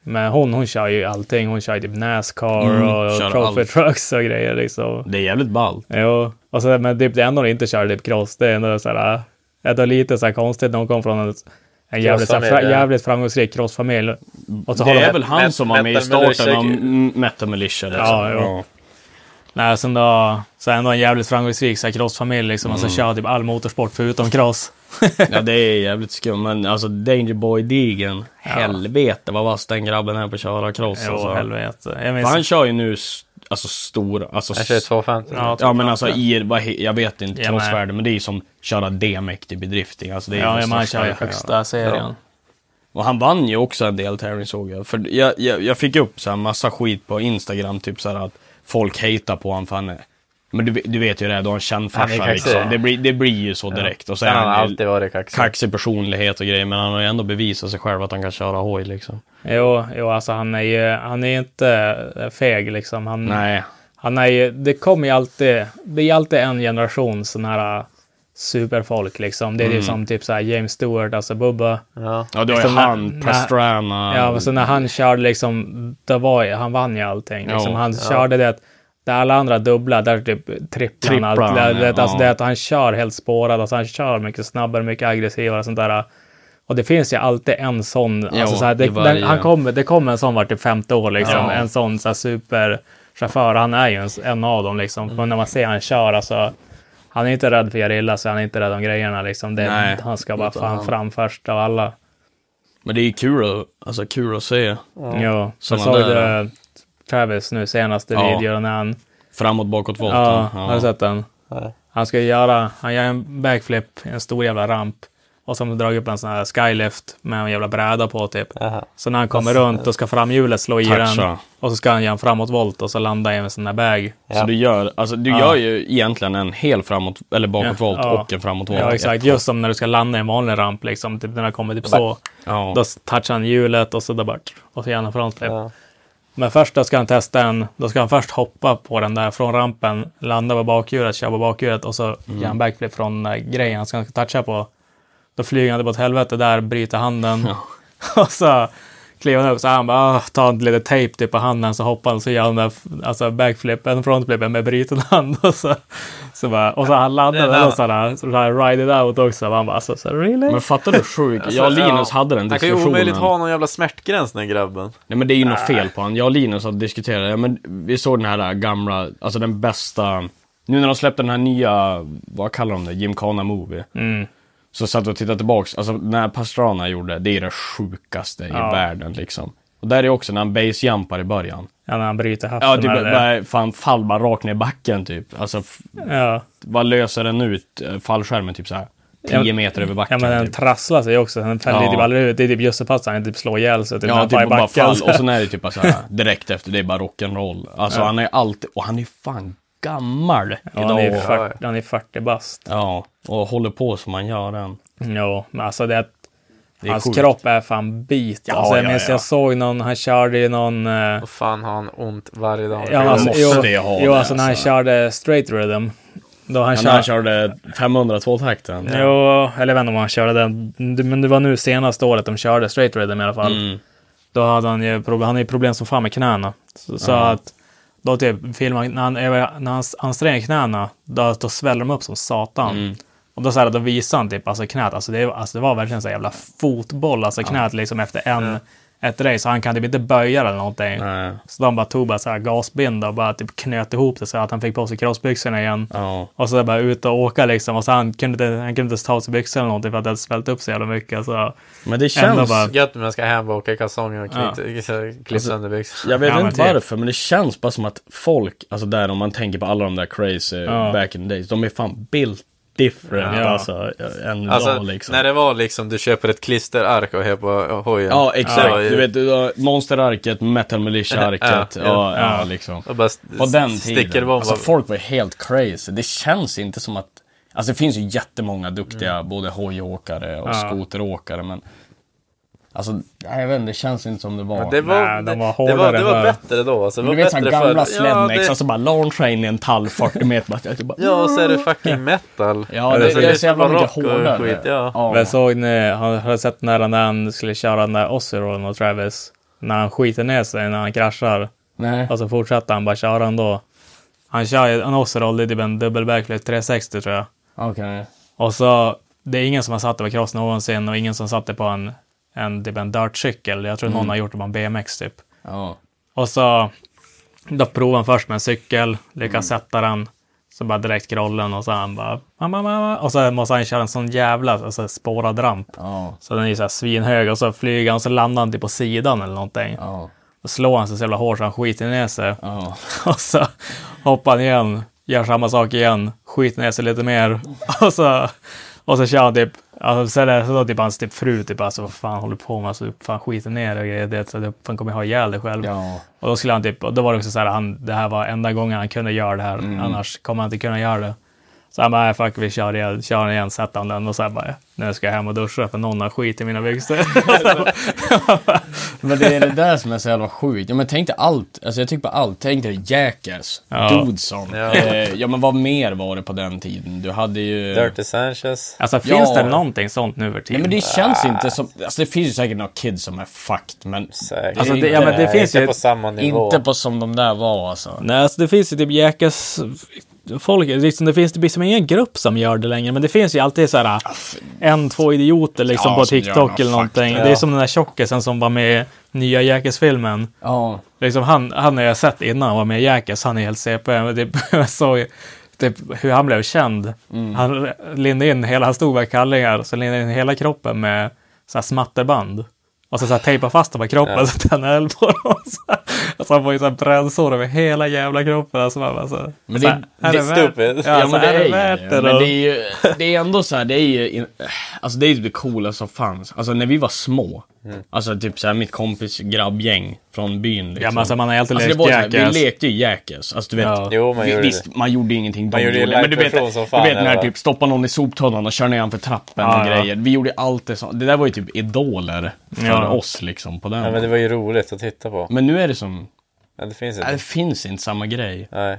Speaker 1: men hon, hon kör ju allting, hon kör ju typ Nascar
Speaker 2: Mm,
Speaker 1: och,
Speaker 2: kör
Speaker 1: och trophy
Speaker 2: allt.
Speaker 1: trucks och grejer liksom.
Speaker 2: Det är jävligt ballt.
Speaker 1: Jo, och så, men typ det enda hon inte kör är typ cross. Det är ändå så här, äh, det är lite så här konstigt när hon kom från en, en jävligt, så här, fra,
Speaker 3: Crossfamilj, ja.
Speaker 1: jävligt framgångsrik crossfamilj. Och så har
Speaker 2: det
Speaker 1: de,
Speaker 2: är väl han
Speaker 3: Met-
Speaker 2: som var med i
Speaker 3: Metal
Speaker 2: starten
Speaker 3: Militia-
Speaker 2: av M- Metal Militia. Liksom.
Speaker 1: Ja, jo. Nej, sen då, så ändå en jävligt framgångsrik så här, crossfamilj liksom. Och
Speaker 2: Mm.
Speaker 1: så kör typ all motorsport förutom cross.
Speaker 2: ja, det är jävligt skumt. Men alltså Danger Boy Degen, helvete vad vass den grabben är på att köra cross.
Speaker 1: Jo,
Speaker 2: alltså.
Speaker 1: helvete. Jag minns,
Speaker 2: För han kör ju nu s- alltså stora, alltså...
Speaker 3: Jag kör
Speaker 2: s-
Speaker 3: 250.
Speaker 1: Ja,
Speaker 2: Ja men alltså i, vad he, jag vet inte,
Speaker 1: Ja,
Speaker 2: crossvärde, men det är ju som köra D-mäktig bedrifting. Alltså det är ju
Speaker 1: ja,
Speaker 2: den
Speaker 1: ja, men han
Speaker 2: största
Speaker 1: kör ju
Speaker 2: jag kan göra.
Speaker 1: högsta serien.
Speaker 2: Och han vann ju också en del tävling såg jag. För jag, jag, jag fick upp så här massa skit på Instagram, typ så här att folk hatar på honom för han är... Men du, du vet ju det, här, du har en känd
Speaker 3: Han är
Speaker 2: farsa
Speaker 3: kaxig.
Speaker 2: liksom. Det blir, det blir ju så direkt. Och så är
Speaker 3: Sen har han
Speaker 2: han ju
Speaker 3: alltid varit liksom- kaxig.
Speaker 2: kaxig personlighet och grejer, men han har ju ändå bevisat sig själv att han kan köra hoj liksom.
Speaker 1: Jo, jo, alltså han är ju han är inte feg liksom. Han,
Speaker 2: Nej.
Speaker 1: Han är ju, det kommer ju alltid, det är alltid en generation sån här äh, superfolk liksom. Det är
Speaker 2: Mm.
Speaker 1: ju som typ så här James Stewart, alltså Bubba.
Speaker 3: Ja.
Speaker 2: Ja, det var ju
Speaker 3: Alltså,
Speaker 1: Som när-
Speaker 2: han,
Speaker 1: när-
Speaker 2: Pastrana.
Speaker 1: Ja, och så när han körde liksom, då var ju, han vann ju allting. Liksom.
Speaker 2: Ja,
Speaker 1: han körde det att, där alla andra dubbla, där typ tripplar han
Speaker 2: Tripplar
Speaker 1: allt.
Speaker 2: han,
Speaker 1: Det, det, alltså
Speaker 2: ja.
Speaker 1: det att han kör helt spårad, alltså han kör mycket snabbare, mycket aggressivare och sånt där. Och det finns ju alltid en sån, alltså
Speaker 2: Ja,
Speaker 1: så här, det,
Speaker 2: i varje-
Speaker 1: den, han kommer, det kommer en sån vart typ femte år liksom,
Speaker 2: Ja.
Speaker 1: en sån så här, superchaufför. Han är ju en, en av dem liksom.
Speaker 2: Mm.
Speaker 1: Men när man ser han kör, alltså, han är inte rädd för gerilla, så han är inte rädd om grejerna liksom. Det,
Speaker 2: Nej,
Speaker 1: han ska bara
Speaker 2: utan
Speaker 1: fan
Speaker 2: han-
Speaker 1: fram först av alla.
Speaker 2: Men det är ju kul, att- alltså kul att se.
Speaker 1: Ja,
Speaker 2: Som
Speaker 1: jag
Speaker 2: han
Speaker 1: såg
Speaker 2: där.
Speaker 1: det Travis nu senaste
Speaker 2: Ja.
Speaker 1: videon när han...
Speaker 2: Framåt, bakåt, volten.
Speaker 3: alltså,
Speaker 1: Ja, har du sett den?
Speaker 3: Nej.
Speaker 1: Han ska göra, han gör en backflip, en stor jävla ramp. och som dragit upp en sån här skylift med en jävla bräda på typ.
Speaker 3: Aha.
Speaker 1: Så när han kommer runt då ska framhjulet slå i den
Speaker 2: Toucha.
Speaker 1: och så ska han göra en framåtvolt och så landa i en sån där bag.
Speaker 2: Så du gör, alltså du gör ju egentligen en hel framåt, eller bakåtvolt
Speaker 1: Ja, ja.
Speaker 2: och en framåtvolt.
Speaker 1: Ja, exakt. Just som när du ska landa i en vanlig ramp, liksom, typ när jag kommer typ så.
Speaker 2: Ja.
Speaker 1: Då touchar han hjulet och så där bort. Och så gör han en frontflip. Men först då ska han testa en, då ska han först hoppa på den där från rampen, landa på bakhjulet, köra på bakhjulet och så
Speaker 2: Mm.
Speaker 1: gör han backflip från eh, grejen han ska toucha på. Då flyger han typ åt helvete där, bryter handen. och så kliver han upp så han bara "Ah", tar lite tejp typ på handen så hoppar han så gör han den där f- alltså backflipen, frontflipen med bruten hand. Och så, så bara, och så han landade där och så här, så här ride it out också. Man bara alltså, så really?
Speaker 2: Men fattar du sjukt? Jag och Linus hade den
Speaker 3: Han Alltså, kan ju
Speaker 2: diskussionen.
Speaker 3: omöjligt ha någon jävla smärtgräns den här grabben.
Speaker 2: Nej men det är ju något fel på han. Jag och Linus har diskuterat det. Ja, men vi såg den här gamla, alltså den bästa. Nu när de släppte den här nya, vad kallar de det? Gymkhana Movie.
Speaker 1: Mm.
Speaker 2: Så satt vi och tittade tillbaks. Alltså när Pastrana gjorde, det är det sjukaste i världen liksom. Och där är också när han basejumpar i början.
Speaker 1: Ja, när han bryter hatten.
Speaker 2: Ja, typ
Speaker 1: eller-
Speaker 2: bara, fan fall bara rakt ner i backen typ. Alltså, f-
Speaker 1: ja.
Speaker 2: vad löser den ut? eh, Fallskärmen typ så här. 10
Speaker 1: Ja,
Speaker 2: meter över
Speaker 1: Ja
Speaker 2: backen.
Speaker 1: men den
Speaker 2: typ.
Speaker 1: trasslar sig också. Den fäller
Speaker 2: Ja.
Speaker 1: typ aldrig ut. Det är typ Jössepass han typ slår ihjäl sig. Typ, när
Speaker 2: Ja,
Speaker 1: han tar i
Speaker 2: typ bara
Speaker 1: backen.
Speaker 2: fall. Och sen är det typ bara såhär, direkt efter det är bara rock'n'roll. Alltså han är alltid, och han är fan gammal
Speaker 1: Ja, han, är
Speaker 2: idag.
Speaker 1: 40, han är 40 bast.
Speaker 2: Ja, och håller på som han gör än.
Speaker 1: Ja, men alltså det,
Speaker 2: Det är
Speaker 1: hans
Speaker 2: sjukt.
Speaker 1: kropp är fan bit.
Speaker 2: Ja,
Speaker 1: alltså, jag
Speaker 2: ja,
Speaker 1: minns
Speaker 2: ja.
Speaker 1: jag såg någon, han körde ju någon... eh,
Speaker 3: Och fan har han ont varje dag.
Speaker 1: ja, alltså,
Speaker 2: måste
Speaker 1: jo,
Speaker 2: ju ha
Speaker 1: jo,
Speaker 2: det,
Speaker 1: alltså när han
Speaker 2: alltså.
Speaker 1: körde straight rhythm. Då han
Speaker 2: Han,
Speaker 1: kör,
Speaker 2: han körde 502-takten.
Speaker 1: Jo, eller jag vet inte om han körde den. Men det var nu senaste året de körde straight rhythm i alla fall.
Speaker 2: Mm.
Speaker 1: Då hade han ju problem, han hade ju problem som fan med knäna. Så, så att då typ filmar, när han, när han anstränger knäna, då, då sväller de upp som satan.
Speaker 2: Mm.
Speaker 1: Och då, så här, då visar han typ alltså knät, alltså det, alltså det var verkligen så här jävla fotboll, alltså knät liksom efter en, ett race. Så han kan typ inte böja eller någonting.
Speaker 2: Nej.
Speaker 1: Så de bara tog bara så här gasbinda och bara typ knöt ihop det så att han fick på sig crossbyxorna igen.
Speaker 2: Ja.
Speaker 1: Och så bara ut och åka liksom. Och så han kunde inte, han kunde inte ens ta av sig byxorna eller någonting för att det hade svällt upp så jävla mycket. Så
Speaker 2: Men det
Speaker 1: ändå
Speaker 2: känns...
Speaker 1: bara,
Speaker 3: Gött om jag ska hem och åka kalsonger och knyta-
Speaker 2: Alltså,
Speaker 3: klippa sönder byxor.
Speaker 2: Jag vet
Speaker 1: Ja, men
Speaker 2: inte
Speaker 1: typ.
Speaker 2: varför, men det känns bara som att folk, alltså där om man tänker på alla de där crazy back in the days, de är fan built different
Speaker 1: Ja.
Speaker 2: alltså, än
Speaker 3: Alltså,
Speaker 2: idag liksom.
Speaker 3: när det var liksom du köper ett klisterark och har på hojen.
Speaker 2: Ja, exakt.
Speaker 3: Ja,
Speaker 2: du vet, du har Monsterarket, Metal Militia-arket,
Speaker 3: Ja,
Speaker 2: ja,
Speaker 3: ja.
Speaker 2: ja, liksom.
Speaker 3: Och bara
Speaker 2: På den tiden.
Speaker 3: stickerbombar.
Speaker 2: Alltså folk var helt crazy. Det känns inte som att... Alltså det finns ju jättemånga duktiga
Speaker 3: Mm.
Speaker 2: både hojåkare och skoteråkare men... Alltså, nej, jag vet inte, det känns inte som det var.
Speaker 3: Men det var,
Speaker 1: Nej, de var
Speaker 3: det- det, var,
Speaker 1: hårdare
Speaker 3: det var
Speaker 1: förr.
Speaker 3: bättre då. Alltså, det
Speaker 2: Men
Speaker 3: var
Speaker 2: du vet såhär
Speaker 3: bättre
Speaker 2: gamla
Speaker 3: förr.
Speaker 2: slednex,
Speaker 3: ja, det,
Speaker 2: alltså bara launcha in i en tall 40 meter. Bara, jag bara,
Speaker 3: ja, och så är det fucking metal.
Speaker 2: ja, det,
Speaker 3: Alltså,
Speaker 2: det är så jävla
Speaker 3: bara
Speaker 2: mycket
Speaker 3: rock och
Speaker 2: hårdare.
Speaker 3: skit, ja.
Speaker 1: Men såg ni, har har du sett när han- när han skulle köra den där Ossirolen och Travis? När han skiter ner sig när han kraschar.
Speaker 2: Nej.
Speaker 1: Och så fortsätter han bara köra ändå. Han kör ju en Ossirol, det är typ en dubbel backflip 360 tror jag.
Speaker 2: Okej.
Speaker 1: Och så, det är ingen som har satt det på cross någonsin och ingen som satt det på en, en, typ en dirtcykel. Jag tror någon har gjort det på en BMX typ.
Speaker 2: Ja.
Speaker 1: Och så, då provade han först med en cykel, lyckas sätta den. Så bara direkt grollen och så han bara, mamma, mamma. Och så måste han köra en sån jävla alltså, spårad ramp.
Speaker 2: Ja.
Speaker 1: Så den är ju så här svinhög och så flyger han och så landar han typ på sidan eller någonting.
Speaker 2: Ja.
Speaker 1: Då slår han sig så jävla hårt så han skiter ner sig.
Speaker 2: Ja.
Speaker 1: Och så hoppar han igen, gör samma sak igen, skiter ner sig lite mer. Och så, och så kör han typ, alltså, så är det så då typ hans typ fru typ alltså vad fan håller du på med? Alltså du fan skiter ner dig och grejer. Det, så du fan kommer ha ihjäl dig själv.
Speaker 2: Ja.
Speaker 1: Och då skulle han typ, och då var det också så här, han, det här var enda gången han kunde göra det här. Annars kommer han inte kunna göra det. Så han bara, "Nej, fuck vi kör igen, kör den igen, sätter han den och så här bara, nu ska jag hem och duscha för någon har skit i mina byxor.
Speaker 2: Men det är det där som är så jävla sjukt. Ja, men tänk dig allt. Alltså jag tycker på allt. Tänk dig Jackass, Dudesson.
Speaker 3: Ja.
Speaker 2: Ja. Eh, ja men vad mer var det på den tiden? Du hade ju...
Speaker 3: Dirty Sanchez.
Speaker 1: alltså
Speaker 2: Ja.
Speaker 1: finns det någonting sånt nu för
Speaker 2: Nej
Speaker 1: tiden?
Speaker 2: men det känns inte som... Alltså det finns ju säkert några kids som är fucked men...
Speaker 3: Säkert.
Speaker 2: Alltså, det-
Speaker 1: ja, men det
Speaker 3: Nej,
Speaker 1: finns
Speaker 3: inte
Speaker 1: ju-
Speaker 3: på samma nivå.
Speaker 2: Inte på som de där var alltså.
Speaker 1: Nej, alltså det finns ju typ jäkas folk, liksom, det finns det blir som ingen grupp som gör det längre, men det finns ju alltid så här en, två idioter liksom
Speaker 2: Ah, Ja,
Speaker 1: på
Speaker 2: som gör
Speaker 1: TikTok
Speaker 2: något
Speaker 1: eller någonting.
Speaker 2: fucked.
Speaker 1: Det är
Speaker 2: Ja.
Speaker 1: som den där tjockisen som var med i nya Jackass-filmen.
Speaker 2: Ja.
Speaker 1: Liksom han, han har jag sett innan han var med i Jackass, han är helt CP. Men det, jag såg ju typ hur han blev känd. Han lindade in hela, han stod med kallingar, så lindade in hela kroppen med så här smatterband. Och så, så här, tejpa fast dem i kroppen så att han höll på dem. Så här. Alltså han får ju så här brännsår över hela jävla kroppen. Alltså, man bara, så, här,
Speaker 2: Men
Speaker 1: så
Speaker 2: det-
Speaker 1: här, är
Speaker 3: det är
Speaker 1: det värt-
Speaker 3: stupid.
Speaker 1: Ja, alltså,
Speaker 2: men det
Speaker 1: är
Speaker 2: är
Speaker 1: det
Speaker 2: ju
Speaker 1: värt det
Speaker 2: Men det
Speaker 1: då?
Speaker 2: är ju det är ändå så här, det är ju in- alltså det är ju det coolaste som fanns. Alltså när vi var små, alltså typ så här mitt kompis grabbgäng från byn liksom.
Speaker 1: Ja, men alltså, man har ju alltid
Speaker 2: Alltså, det
Speaker 1: lekt
Speaker 2: var så här,
Speaker 1: Jackass.
Speaker 2: Vi lekte ju Jackass, alltså du vet.
Speaker 1: Ja.
Speaker 3: Jo, man
Speaker 2: vi,
Speaker 3: gjorde
Speaker 2: visst, man gjorde ingenting
Speaker 3: Man
Speaker 2: de
Speaker 3: gjorde ju
Speaker 2: men du vet,
Speaker 3: liveversion som
Speaker 2: du
Speaker 3: fan,
Speaker 2: vet när
Speaker 3: eller?
Speaker 2: typ stoppa någon i soptunnan och kör ner för trappen
Speaker 1: Ja,
Speaker 2: och
Speaker 1: ja.
Speaker 2: grejer. Vi gjorde allt det sånt. Det där var ju typ idoler för
Speaker 1: Ja.
Speaker 2: oss liksom på den.
Speaker 3: Ja, men det var ju roligt att titta på.
Speaker 2: men nu är det som,
Speaker 3: Men det finns
Speaker 2: äh, det
Speaker 3: inte.
Speaker 2: finns inte samma grej.
Speaker 3: Nej.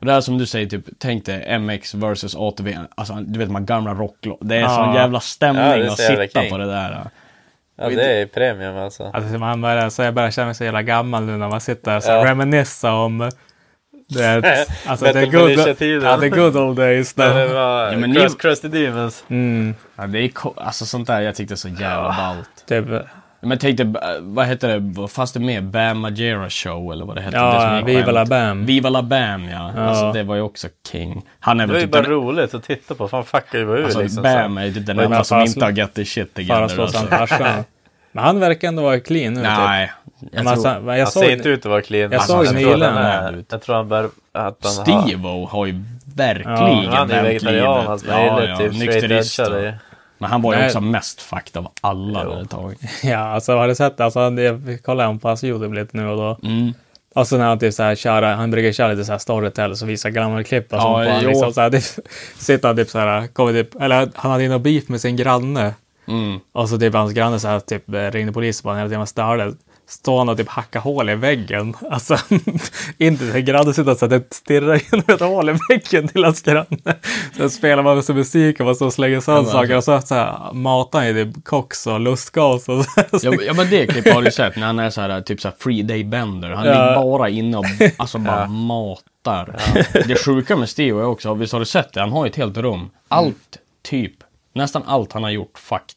Speaker 2: Och det här som du säger, typ, tänk dig MX versus ATV, alltså du vet de här gamla rocklåtarna. Det är
Speaker 1: Ja.
Speaker 2: sån jävla stämning
Speaker 3: Ja, det är
Speaker 2: att
Speaker 3: så jävla
Speaker 2: sitta
Speaker 3: king.
Speaker 2: på det där.
Speaker 3: Ja, det är ju premium alltså.
Speaker 1: Alltså, man börjar, så jag börjar känna mig så jävla gammal nu när man sitter och så
Speaker 3: Ja.
Speaker 1: reminissa om eh, det, alltså,
Speaker 3: Metal
Speaker 1: the, good,
Speaker 3: Militia-tiden.
Speaker 1: ja, the good old days.
Speaker 3: Det
Speaker 1: Där.
Speaker 3: var
Speaker 2: Ja, men ni-
Speaker 3: Crust- Crusty Demons.
Speaker 1: Mm,
Speaker 2: Ja, det är ko- alltså sånt där jag tyckte är så jävla ballt.
Speaker 1: typ,
Speaker 2: Men tänk dig, eh, vad hette det, vad fanns det med? Bam Majera show eller vad det hette? det
Speaker 1: ja,
Speaker 2: gick
Speaker 1: Viva
Speaker 2: skämt.
Speaker 1: la Bam.
Speaker 2: Viva La Bam ja.
Speaker 1: Ja.
Speaker 2: Alltså det var ju också king. Han är
Speaker 3: Det var
Speaker 2: väl
Speaker 3: ju
Speaker 2: typ
Speaker 3: bara
Speaker 2: den,
Speaker 3: roligt att titta på. Fan fuckar ju bara ur
Speaker 2: alltså,
Speaker 3: liksom.
Speaker 2: Bam är ju typ den
Speaker 1: Men
Speaker 2: enda som
Speaker 1: fan,
Speaker 2: inte har got their shit together.
Speaker 1: Bara slå
Speaker 2: Alltså.
Speaker 1: som farsan. Men han verkar ändå vara clean nu. Typ.
Speaker 2: Nej.
Speaker 1: Men
Speaker 2: Jag tror,
Speaker 1: alltså, men jag
Speaker 3: Han ser
Speaker 1: såg,
Speaker 3: inte ut att vara clean.
Speaker 1: jag
Speaker 3: Alltså,
Speaker 1: såg
Speaker 3: tror
Speaker 1: nyligen-
Speaker 3: att han är- Jag tror han bär... Att han har...
Speaker 2: Steve-O har ju verkligen
Speaker 1: Ja,
Speaker 3: Han är ju
Speaker 2: vänt
Speaker 3: vegetarian.
Speaker 2: livet.
Speaker 3: Hans ja, ja, typ straight
Speaker 2: nykterist
Speaker 3: edgare.
Speaker 2: och-
Speaker 3: ju.
Speaker 2: Men han var ju
Speaker 1: Nej.
Speaker 2: också mest fucked av alla där ett tag.
Speaker 1: ja, alltså, har du sett, alltså, jag kollade på hans Youtube lite nu och då.
Speaker 2: Mm.
Speaker 1: Och sen när han typ så här kör, han brukar köra lite så här storytell, så visar gamla klipp och sånt.
Speaker 2: Ja,
Speaker 1: på han
Speaker 2: jo.
Speaker 1: liksom, så här, typ, sitter han typ så här, kommer typ, eller han hade ju någon beef med sin granne.
Speaker 2: Mm.
Speaker 1: Och så typ hans granne så här, typ, ringde polisen på honom hela tiden och störde. Står han och typ hackar hål i väggen. Alltså, inte så här, grannen sitter så att det stirrar genom ett hål i väggen till hans granne. Sen spelar man så musik och man står och slänger sönder saker. Och så, så här, matar han ju typ koks och lustgas. Och så,
Speaker 2: Ja, men- ja men det klippet har du ju sett när han är så här typ så här free day bender. Han
Speaker 1: Ja.
Speaker 2: ligger bara inne och alltså bara matar. Det sjuka med Steve är också, visst har du sett det? Han har ju ett helt rum. Allt, typ, nästan allt han har gjort, fakt.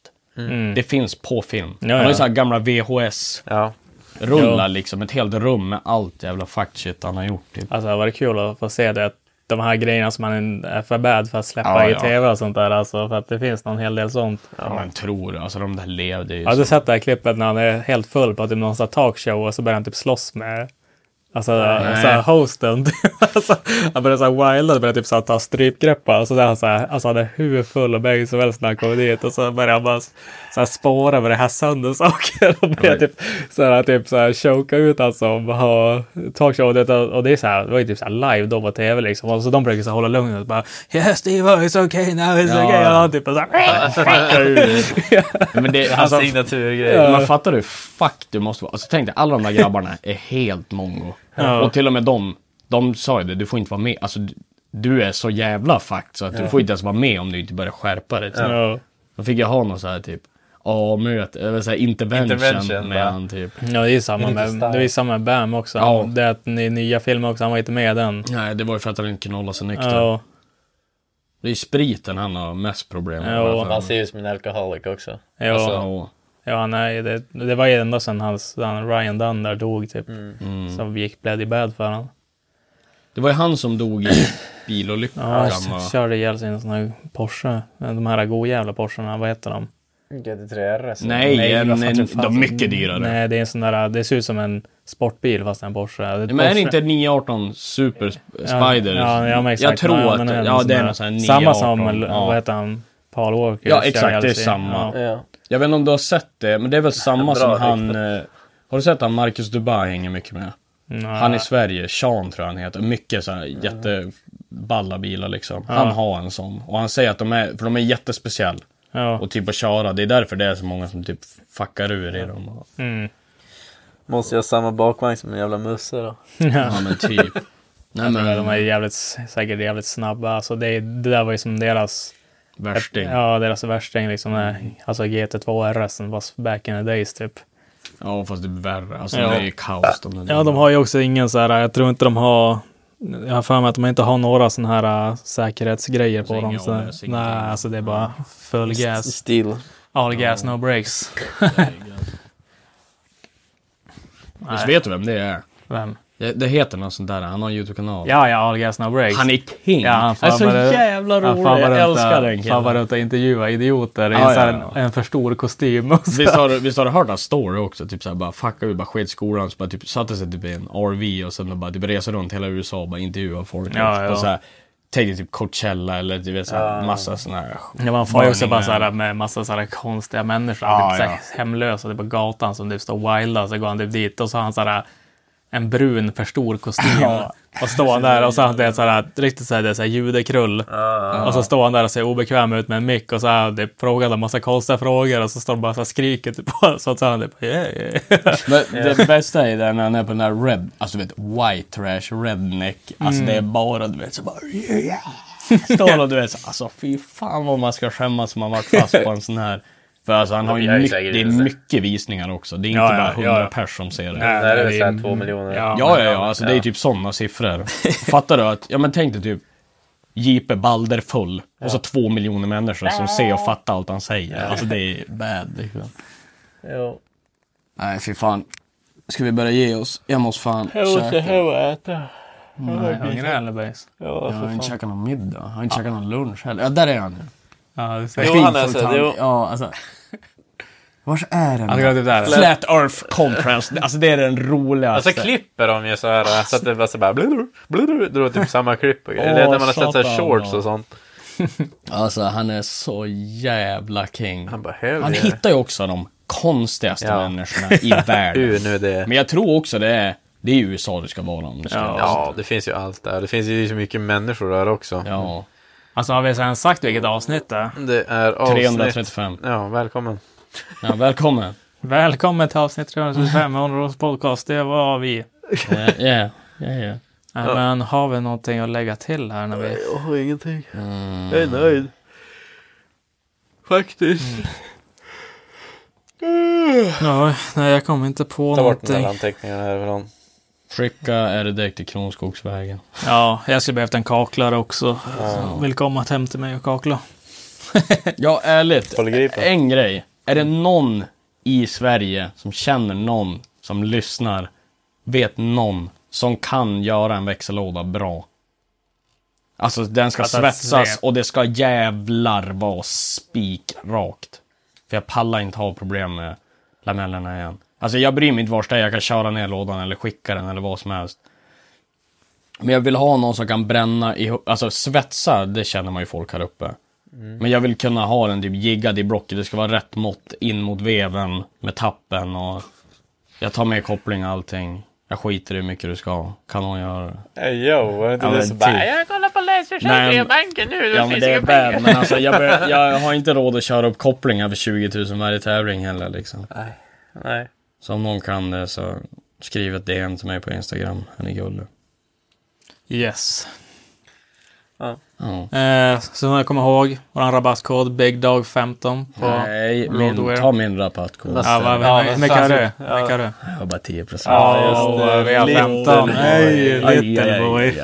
Speaker 2: Det finns på film.
Speaker 1: Mm. Ja,
Speaker 2: han har
Speaker 1: ja.
Speaker 2: ju så här gamla VHS-rullar
Speaker 3: Ja.
Speaker 2: liksom. Ett helt rum med allt jävla fakt shit han har gjort. Typ.
Speaker 1: Alltså det var kul att få se det. De här grejerna som man är för bad för att släppa
Speaker 2: Ja,
Speaker 1: i
Speaker 2: ja.
Speaker 1: tv och sånt där. Alltså, för att det finns någon hel del sånt.
Speaker 2: Ja. Man tror, alltså de där levde ju.
Speaker 1: Jag har
Speaker 2: så-
Speaker 1: du sett det här klippet när han är helt full på typ någon sån här talkshow och så börjar han typ slåss med alltså, så här, hosten. alltså, han börjar så här wilda och börjar typ så här, ta strypgrepp. Alltså, där han, så här, alltså han är hur full och bäng som helst när han kommer dit. Och så börjar han bara så här, spåra med det här sönder saker. Och börjar typ så här, typ så här choka ut han som har talkshow. Det- Och det är så här, det var ju typ så här live då på tv liksom. Och så de brukar så här, hålla lugnet och bara Yes Steve, it's okay now, it's
Speaker 2: Ja.
Speaker 1: okay. Och han typ så här, fuckar ur.
Speaker 2: Men det,
Speaker 3: Hans
Speaker 2: alltså,
Speaker 3: signaturgrej.
Speaker 2: Man fattar du fuck du måste vara. Alltså tänk dig, alla de där grabbarna är helt mongo. Och till och med de, de sa ju det, du får inte vara med. Alltså du, du är så jävla fucked så att du får inte ens vara med om du inte börjar skärpa dig. Ja.
Speaker 1: Ja.
Speaker 2: Då fick jag ha någon så här typ A-möte, eller så här intervention,
Speaker 3: Intervention,
Speaker 2: med
Speaker 3: ja.
Speaker 2: han typ.
Speaker 1: Ja, det är ju samma
Speaker 3: lite
Speaker 1: med,
Speaker 3: starkt.
Speaker 1: det är ju samma med Bam också.
Speaker 2: Ja.
Speaker 1: Det är att ni, nya filmer också, han var inte med i den.
Speaker 2: Nej, det var ju för att han inte kunde hålla sig nykter.
Speaker 1: Ja,
Speaker 2: Det är ju spriten han har mest problem
Speaker 1: Ja.
Speaker 2: med. har jag för Alltså, mig.
Speaker 3: Han ser ju ut som en alkoholik också.
Speaker 1: ja,
Speaker 2: Ja.
Speaker 1: ja nej, det, det var ju ända sedan hans, han Ryan Dunn där dog typ.
Speaker 2: Mm.
Speaker 1: Som gick bloody bad för honom.
Speaker 2: Det var ju han som dog i bilolyckan.
Speaker 1: Ja,
Speaker 2: va?
Speaker 1: han körde ihjäl sin sån här Porsche. De här godjävla Porscharna, vad heter de?
Speaker 3: GT3 RS.
Speaker 2: Nej,
Speaker 1: Nej,
Speaker 2: en,
Speaker 1: vad
Speaker 2: en,
Speaker 1: fan tror fan-
Speaker 2: de är mycket dyrare.
Speaker 1: Nej, det är en sån där, det ser ut som en sportbil fast det är en Porsche.
Speaker 2: Nej, Men är det inte 918 Super Sp- Spider?
Speaker 1: Alltså- Ja, ja, men exakt.
Speaker 2: Jag tror
Speaker 1: Nej,
Speaker 2: att
Speaker 1: men
Speaker 2: det,
Speaker 1: en
Speaker 2: ja,
Speaker 1: sån
Speaker 2: det är
Speaker 1: där-
Speaker 2: någon sån här 918.
Speaker 1: Samma som,
Speaker 2: ja.
Speaker 1: vad heter han? Paul Walker.
Speaker 2: Ja,
Speaker 1: kör
Speaker 2: exakt,
Speaker 1: ihjäl
Speaker 2: det är
Speaker 1: sig.
Speaker 2: samma.
Speaker 3: Ja.
Speaker 2: Jag vet inte om du har sett det, men det är väl samma
Speaker 3: Bra,
Speaker 2: som han... Eh, har du sett han Marcus Dubai hänger mycket med?
Speaker 1: Ja.
Speaker 2: Han i Sverige, Sean tror jag han heter. Mycket sådana jätteballa bilar liksom. Han har en sån. Och han säger att de är, för de är jättespeciell.
Speaker 1: Ja.
Speaker 2: Och typ att köra, det är därför det är så många som typ fuckar ur i dem.
Speaker 1: Mm.
Speaker 3: Måste jag ha samma bakvagn som en jävla musse då?
Speaker 1: Mm.
Speaker 2: Ja men typ. Nej
Speaker 1: Ja, de
Speaker 2: men,
Speaker 1: är jävligt, säkert jävligt snabba. Alltså det, det där var ju som deras
Speaker 2: värsting.
Speaker 1: Ja, deras värsting. Liksom, mm. Alltså GT2 RS, fast back in the days typ.
Speaker 2: Ja fast det är värre. Alltså
Speaker 1: Ja.
Speaker 2: det är ju kaos de där
Speaker 1: Ja, de har ju också ingen så här, jag tror inte de har, jag har för mig att de inte har några sådana här äh, säkerhetsgrejer på
Speaker 2: Alltså,
Speaker 1: dem.
Speaker 2: inga
Speaker 1: Så,
Speaker 2: ABS,
Speaker 1: nej,
Speaker 2: ingenting.
Speaker 1: alltså det är bara full gas.
Speaker 3: Still.
Speaker 1: All gas, no breaks.
Speaker 2: Visst Alltså, vet du vem det är?
Speaker 1: Vem?
Speaker 2: Det, det heter något sånt där, han har en YouTube-kanal.
Speaker 1: Ja, ja, All Gas No Breaks.
Speaker 2: Han är king!
Speaker 1: Ja, han
Speaker 2: han är så
Speaker 1: farbar-
Speaker 2: jävla rolig,
Speaker 1: farbar
Speaker 2: jag
Speaker 1: runt
Speaker 2: älskar
Speaker 1: och-
Speaker 2: den
Speaker 1: Farbar
Speaker 2: killen.
Speaker 1: runt och intervjuar idioter i
Speaker 2: Ja,
Speaker 1: så här
Speaker 2: ja, ja.
Speaker 1: En, en för stor kostym. Och så.
Speaker 2: Visst har, du- visst har du hört hans story också? Typ såhär bara fucka ur, bara sket skolan, så bara typ satte sig typ i en RV och sen bara typ reser runt hela USA och bara intervjuar folk.
Speaker 1: Ja,
Speaker 2: typ,
Speaker 1: ja.
Speaker 2: På såhär, tänkte typ Coachella eller du vet såhär massa såna här
Speaker 1: Det var en far också bara
Speaker 2: Morning,
Speaker 1: så här med massa så här konstiga människor,
Speaker 2: Ja,
Speaker 1: typ så här
Speaker 2: ja.
Speaker 1: hemlösa typ på gatan som typ står och wildar. Så går han typ dit och så har han så här en brun för stor kostym.
Speaker 2: Ja.
Speaker 1: Och står han där och så har han det så här, riktigt så här, det är så här judekrull. Och så står han där och ser obekväm ut med en mick och så här, det frågar han en massa konstiga frågor och så står han bara så här skriker typ på så att så han typ yeah, yeah.
Speaker 2: Men det bästa är där när han är på den här red, alltså du vet white trash redneck. Alltså det är bara du vet så bara yeah. Står och du vet så, alltså fy fan vad man ska skämmas som man varit fast på en sån här. För alltså han har ju
Speaker 3: Jag är
Speaker 2: mycket,
Speaker 3: säkert
Speaker 2: det är
Speaker 3: inte.
Speaker 2: mycket visningar också. Det är inte
Speaker 1: Ja,
Speaker 2: bara
Speaker 1: ja, ja,
Speaker 2: 100
Speaker 1: ja.
Speaker 2: pers som ser det.
Speaker 3: Det här är väl såhär två miljoner.
Speaker 1: Ja.
Speaker 2: Ja, ja, ja. Alltså, Det är typ sådana siffror. Fattar du? att, ja, men Tänk dig typ Jeepe Balder full och så två miljoner människor som ser och fattar allt han säger. Alltså det är bad. Liksom.
Speaker 3: Jo.
Speaker 2: Nej, fy fan. Ska vi börja ge oss? Jag måste fan
Speaker 3: och äta.
Speaker 1: Hungrig eller bajs?
Speaker 2: Jag har inte käkat någon middag. Jag har inte käkat någon lunch heller. Ja, där är han nu.
Speaker 1: Ja, det
Speaker 3: Jo,
Speaker 1: säger
Speaker 3: han är så-
Speaker 2: Skitfull
Speaker 3: jo.
Speaker 2: tank. Ja, alltså. Vars är den?
Speaker 1: Han går typ där.
Speaker 2: Flat Earth Conference. Alltså det är den roligaste.
Speaker 3: Alltså klipper de ju såhär så att det bara så bara blur, blur, drar typ samma klipp och grejer.
Speaker 2: Åh,
Speaker 3: Eller när man har sett såhär
Speaker 2: satan,
Speaker 3: shorts
Speaker 2: ja.
Speaker 3: och sånt.
Speaker 2: Alltså han är så jävla king.
Speaker 3: Han bara hell
Speaker 2: Han
Speaker 3: yeah.
Speaker 2: hittar ju också de konstigaste
Speaker 3: Ja.
Speaker 2: människorna i
Speaker 3: Hur
Speaker 2: världen.
Speaker 3: nu det
Speaker 2: Men jag tror också det är, det är ju USA du ska vara om du ska.
Speaker 3: Ja, det finns ju allt där. Det finns ju så mycket människor där också.
Speaker 2: ja.
Speaker 1: Alltså har vi sen sagt vilket avsnitt det är?
Speaker 3: Det är avsnitt...
Speaker 2: 335.
Speaker 3: Ja, välkommen.
Speaker 2: Ja, välkommen.
Speaker 1: Välkommen till avsnitt 325 av Onros podcast. Det var vi.
Speaker 2: Ja, ja, ja, ja.
Speaker 1: Nej, Men har vi någonting att lägga till här när vi...
Speaker 3: Jag har ingenting. Jag är nöjd. Faktiskt.
Speaker 1: Ja, nej, jag kommer inte på
Speaker 3: Ta bort den där
Speaker 1: någonting.
Speaker 3: anteckningen härifrån.
Speaker 2: Skicka är det direkt till Kronskogsvägen.
Speaker 1: Ja, jag skulle behövt en kaklare också. Så Vill komma hem till mig och kakla.
Speaker 2: Ja, ärligt.
Speaker 3: Kolgripen.
Speaker 2: En grej. Är det någon i Sverige som känner någon som lyssnar, vet någon som kan göra en växellåda bra? Alltså den ska
Speaker 1: Alltså,
Speaker 2: svetsas
Speaker 1: svep.
Speaker 2: och det ska jävlar vara spikrakt. För jag pallar inte ha problem med lamellerna igen. Alltså jag bryr mig inte vars det är, jag kan köra ner lådan eller skicka den eller vad som helst. Men jag vill ha någon som kan bränna ihop, alltså svetsa, det känner man ju folk här uppe. Men jag vill kunna ha den typ jiggad i blocket, det ska vara rätt mått in mot veven med tappen och jag tar med koppling och allting. Jag skiter i hur mycket du ska ha. Kan hon göra det?
Speaker 3: Hey, yo, var det inte
Speaker 2: Ja,
Speaker 3: det
Speaker 2: men
Speaker 3: som bara...
Speaker 2: typ.
Speaker 3: Jag kollar på Länsförsäkringen i
Speaker 2: Men-
Speaker 3: banken nu.
Speaker 2: Ja men det är bad, men alltså jag, bör, jag har inte råd att köra upp kopplingar för 20 000 varje tävling heller liksom.
Speaker 3: Nej.
Speaker 2: Så om någon kan det så skriv ett DM till mig på Instagram, han är gullig.
Speaker 1: Yes.
Speaker 2: Ja.
Speaker 1: Eh, så om jag kommer ihåg, vår rabattkod BigDog15 på...
Speaker 2: Nej, min,
Speaker 1: Roadwear.
Speaker 2: ta min rabattkod.
Speaker 1: Ja, vad,
Speaker 3: Ja,
Speaker 1: vad, hur mycket har du? Hur mycket har du?
Speaker 2: Jag har bara 10 procent.
Speaker 1: Ja, vi har 15. Nej, little boy.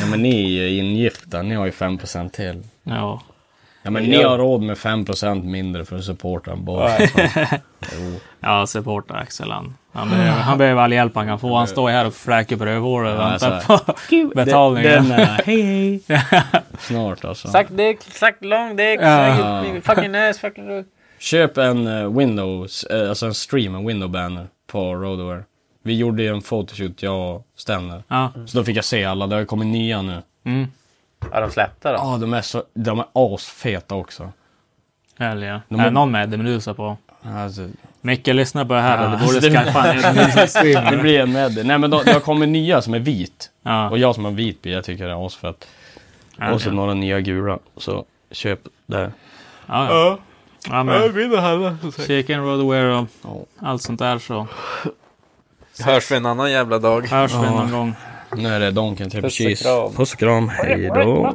Speaker 2: Ja men ni är ju ingifta, ni har ju 5 procent till.
Speaker 1: Ja.
Speaker 2: Ja men ni har råd med 5 procent mindre för att supporta en boy.
Speaker 1: Ja, supporta Axel. Han, han, behöver, han behöver all hjälp han kan få. Han står ju här och fläker på rövhålet och
Speaker 2: Ja,
Speaker 1: väntar
Speaker 2: så här.
Speaker 1: på betalningen.
Speaker 2: Den är, hej hej. Snart alltså.
Speaker 3: Suck dick, suck long dick,
Speaker 1: Ja.
Speaker 3: suck it, fucking ass, fucking...
Speaker 2: Köp en eh, Windows, eh, alltså en stream, en window banner på Roadwear. Vi gjorde ju en photoshoot, jag och Stenner.
Speaker 1: Ja. Mm.
Speaker 2: Så då fick jag se alla, det har ju kommit nya nu.
Speaker 3: Ja, de släppte då.
Speaker 2: Ja, de är så, de är asfeta också.
Speaker 1: Eller ja.
Speaker 2: De-
Speaker 1: Är någon med Demedusa på?
Speaker 2: Alltså,
Speaker 1: Micke, lyssna på det här.
Speaker 2: Ja,
Speaker 1: du borde
Speaker 2: det-
Speaker 1: skaffa en egen
Speaker 2: det
Speaker 1: streamer.
Speaker 2: blir en med det. Nej men då- det har kommit nya som är vit.
Speaker 1: Ja.
Speaker 2: Och jag som har vit bil, jag tycker det är asfett.
Speaker 1: Ja,
Speaker 2: Och så
Speaker 1: ja.
Speaker 2: några nya gula. Så köp det.
Speaker 1: Ja, ja. ja, men Chicken Roadwear och allt sånt där så
Speaker 3: Hörs vi en annan jävla dag.
Speaker 1: hörs vi någon gång.
Speaker 2: Nu är det Donken Triple
Speaker 3: Puss och
Speaker 2: Cheese.
Speaker 3: kram.
Speaker 2: Puss och kram, hej då.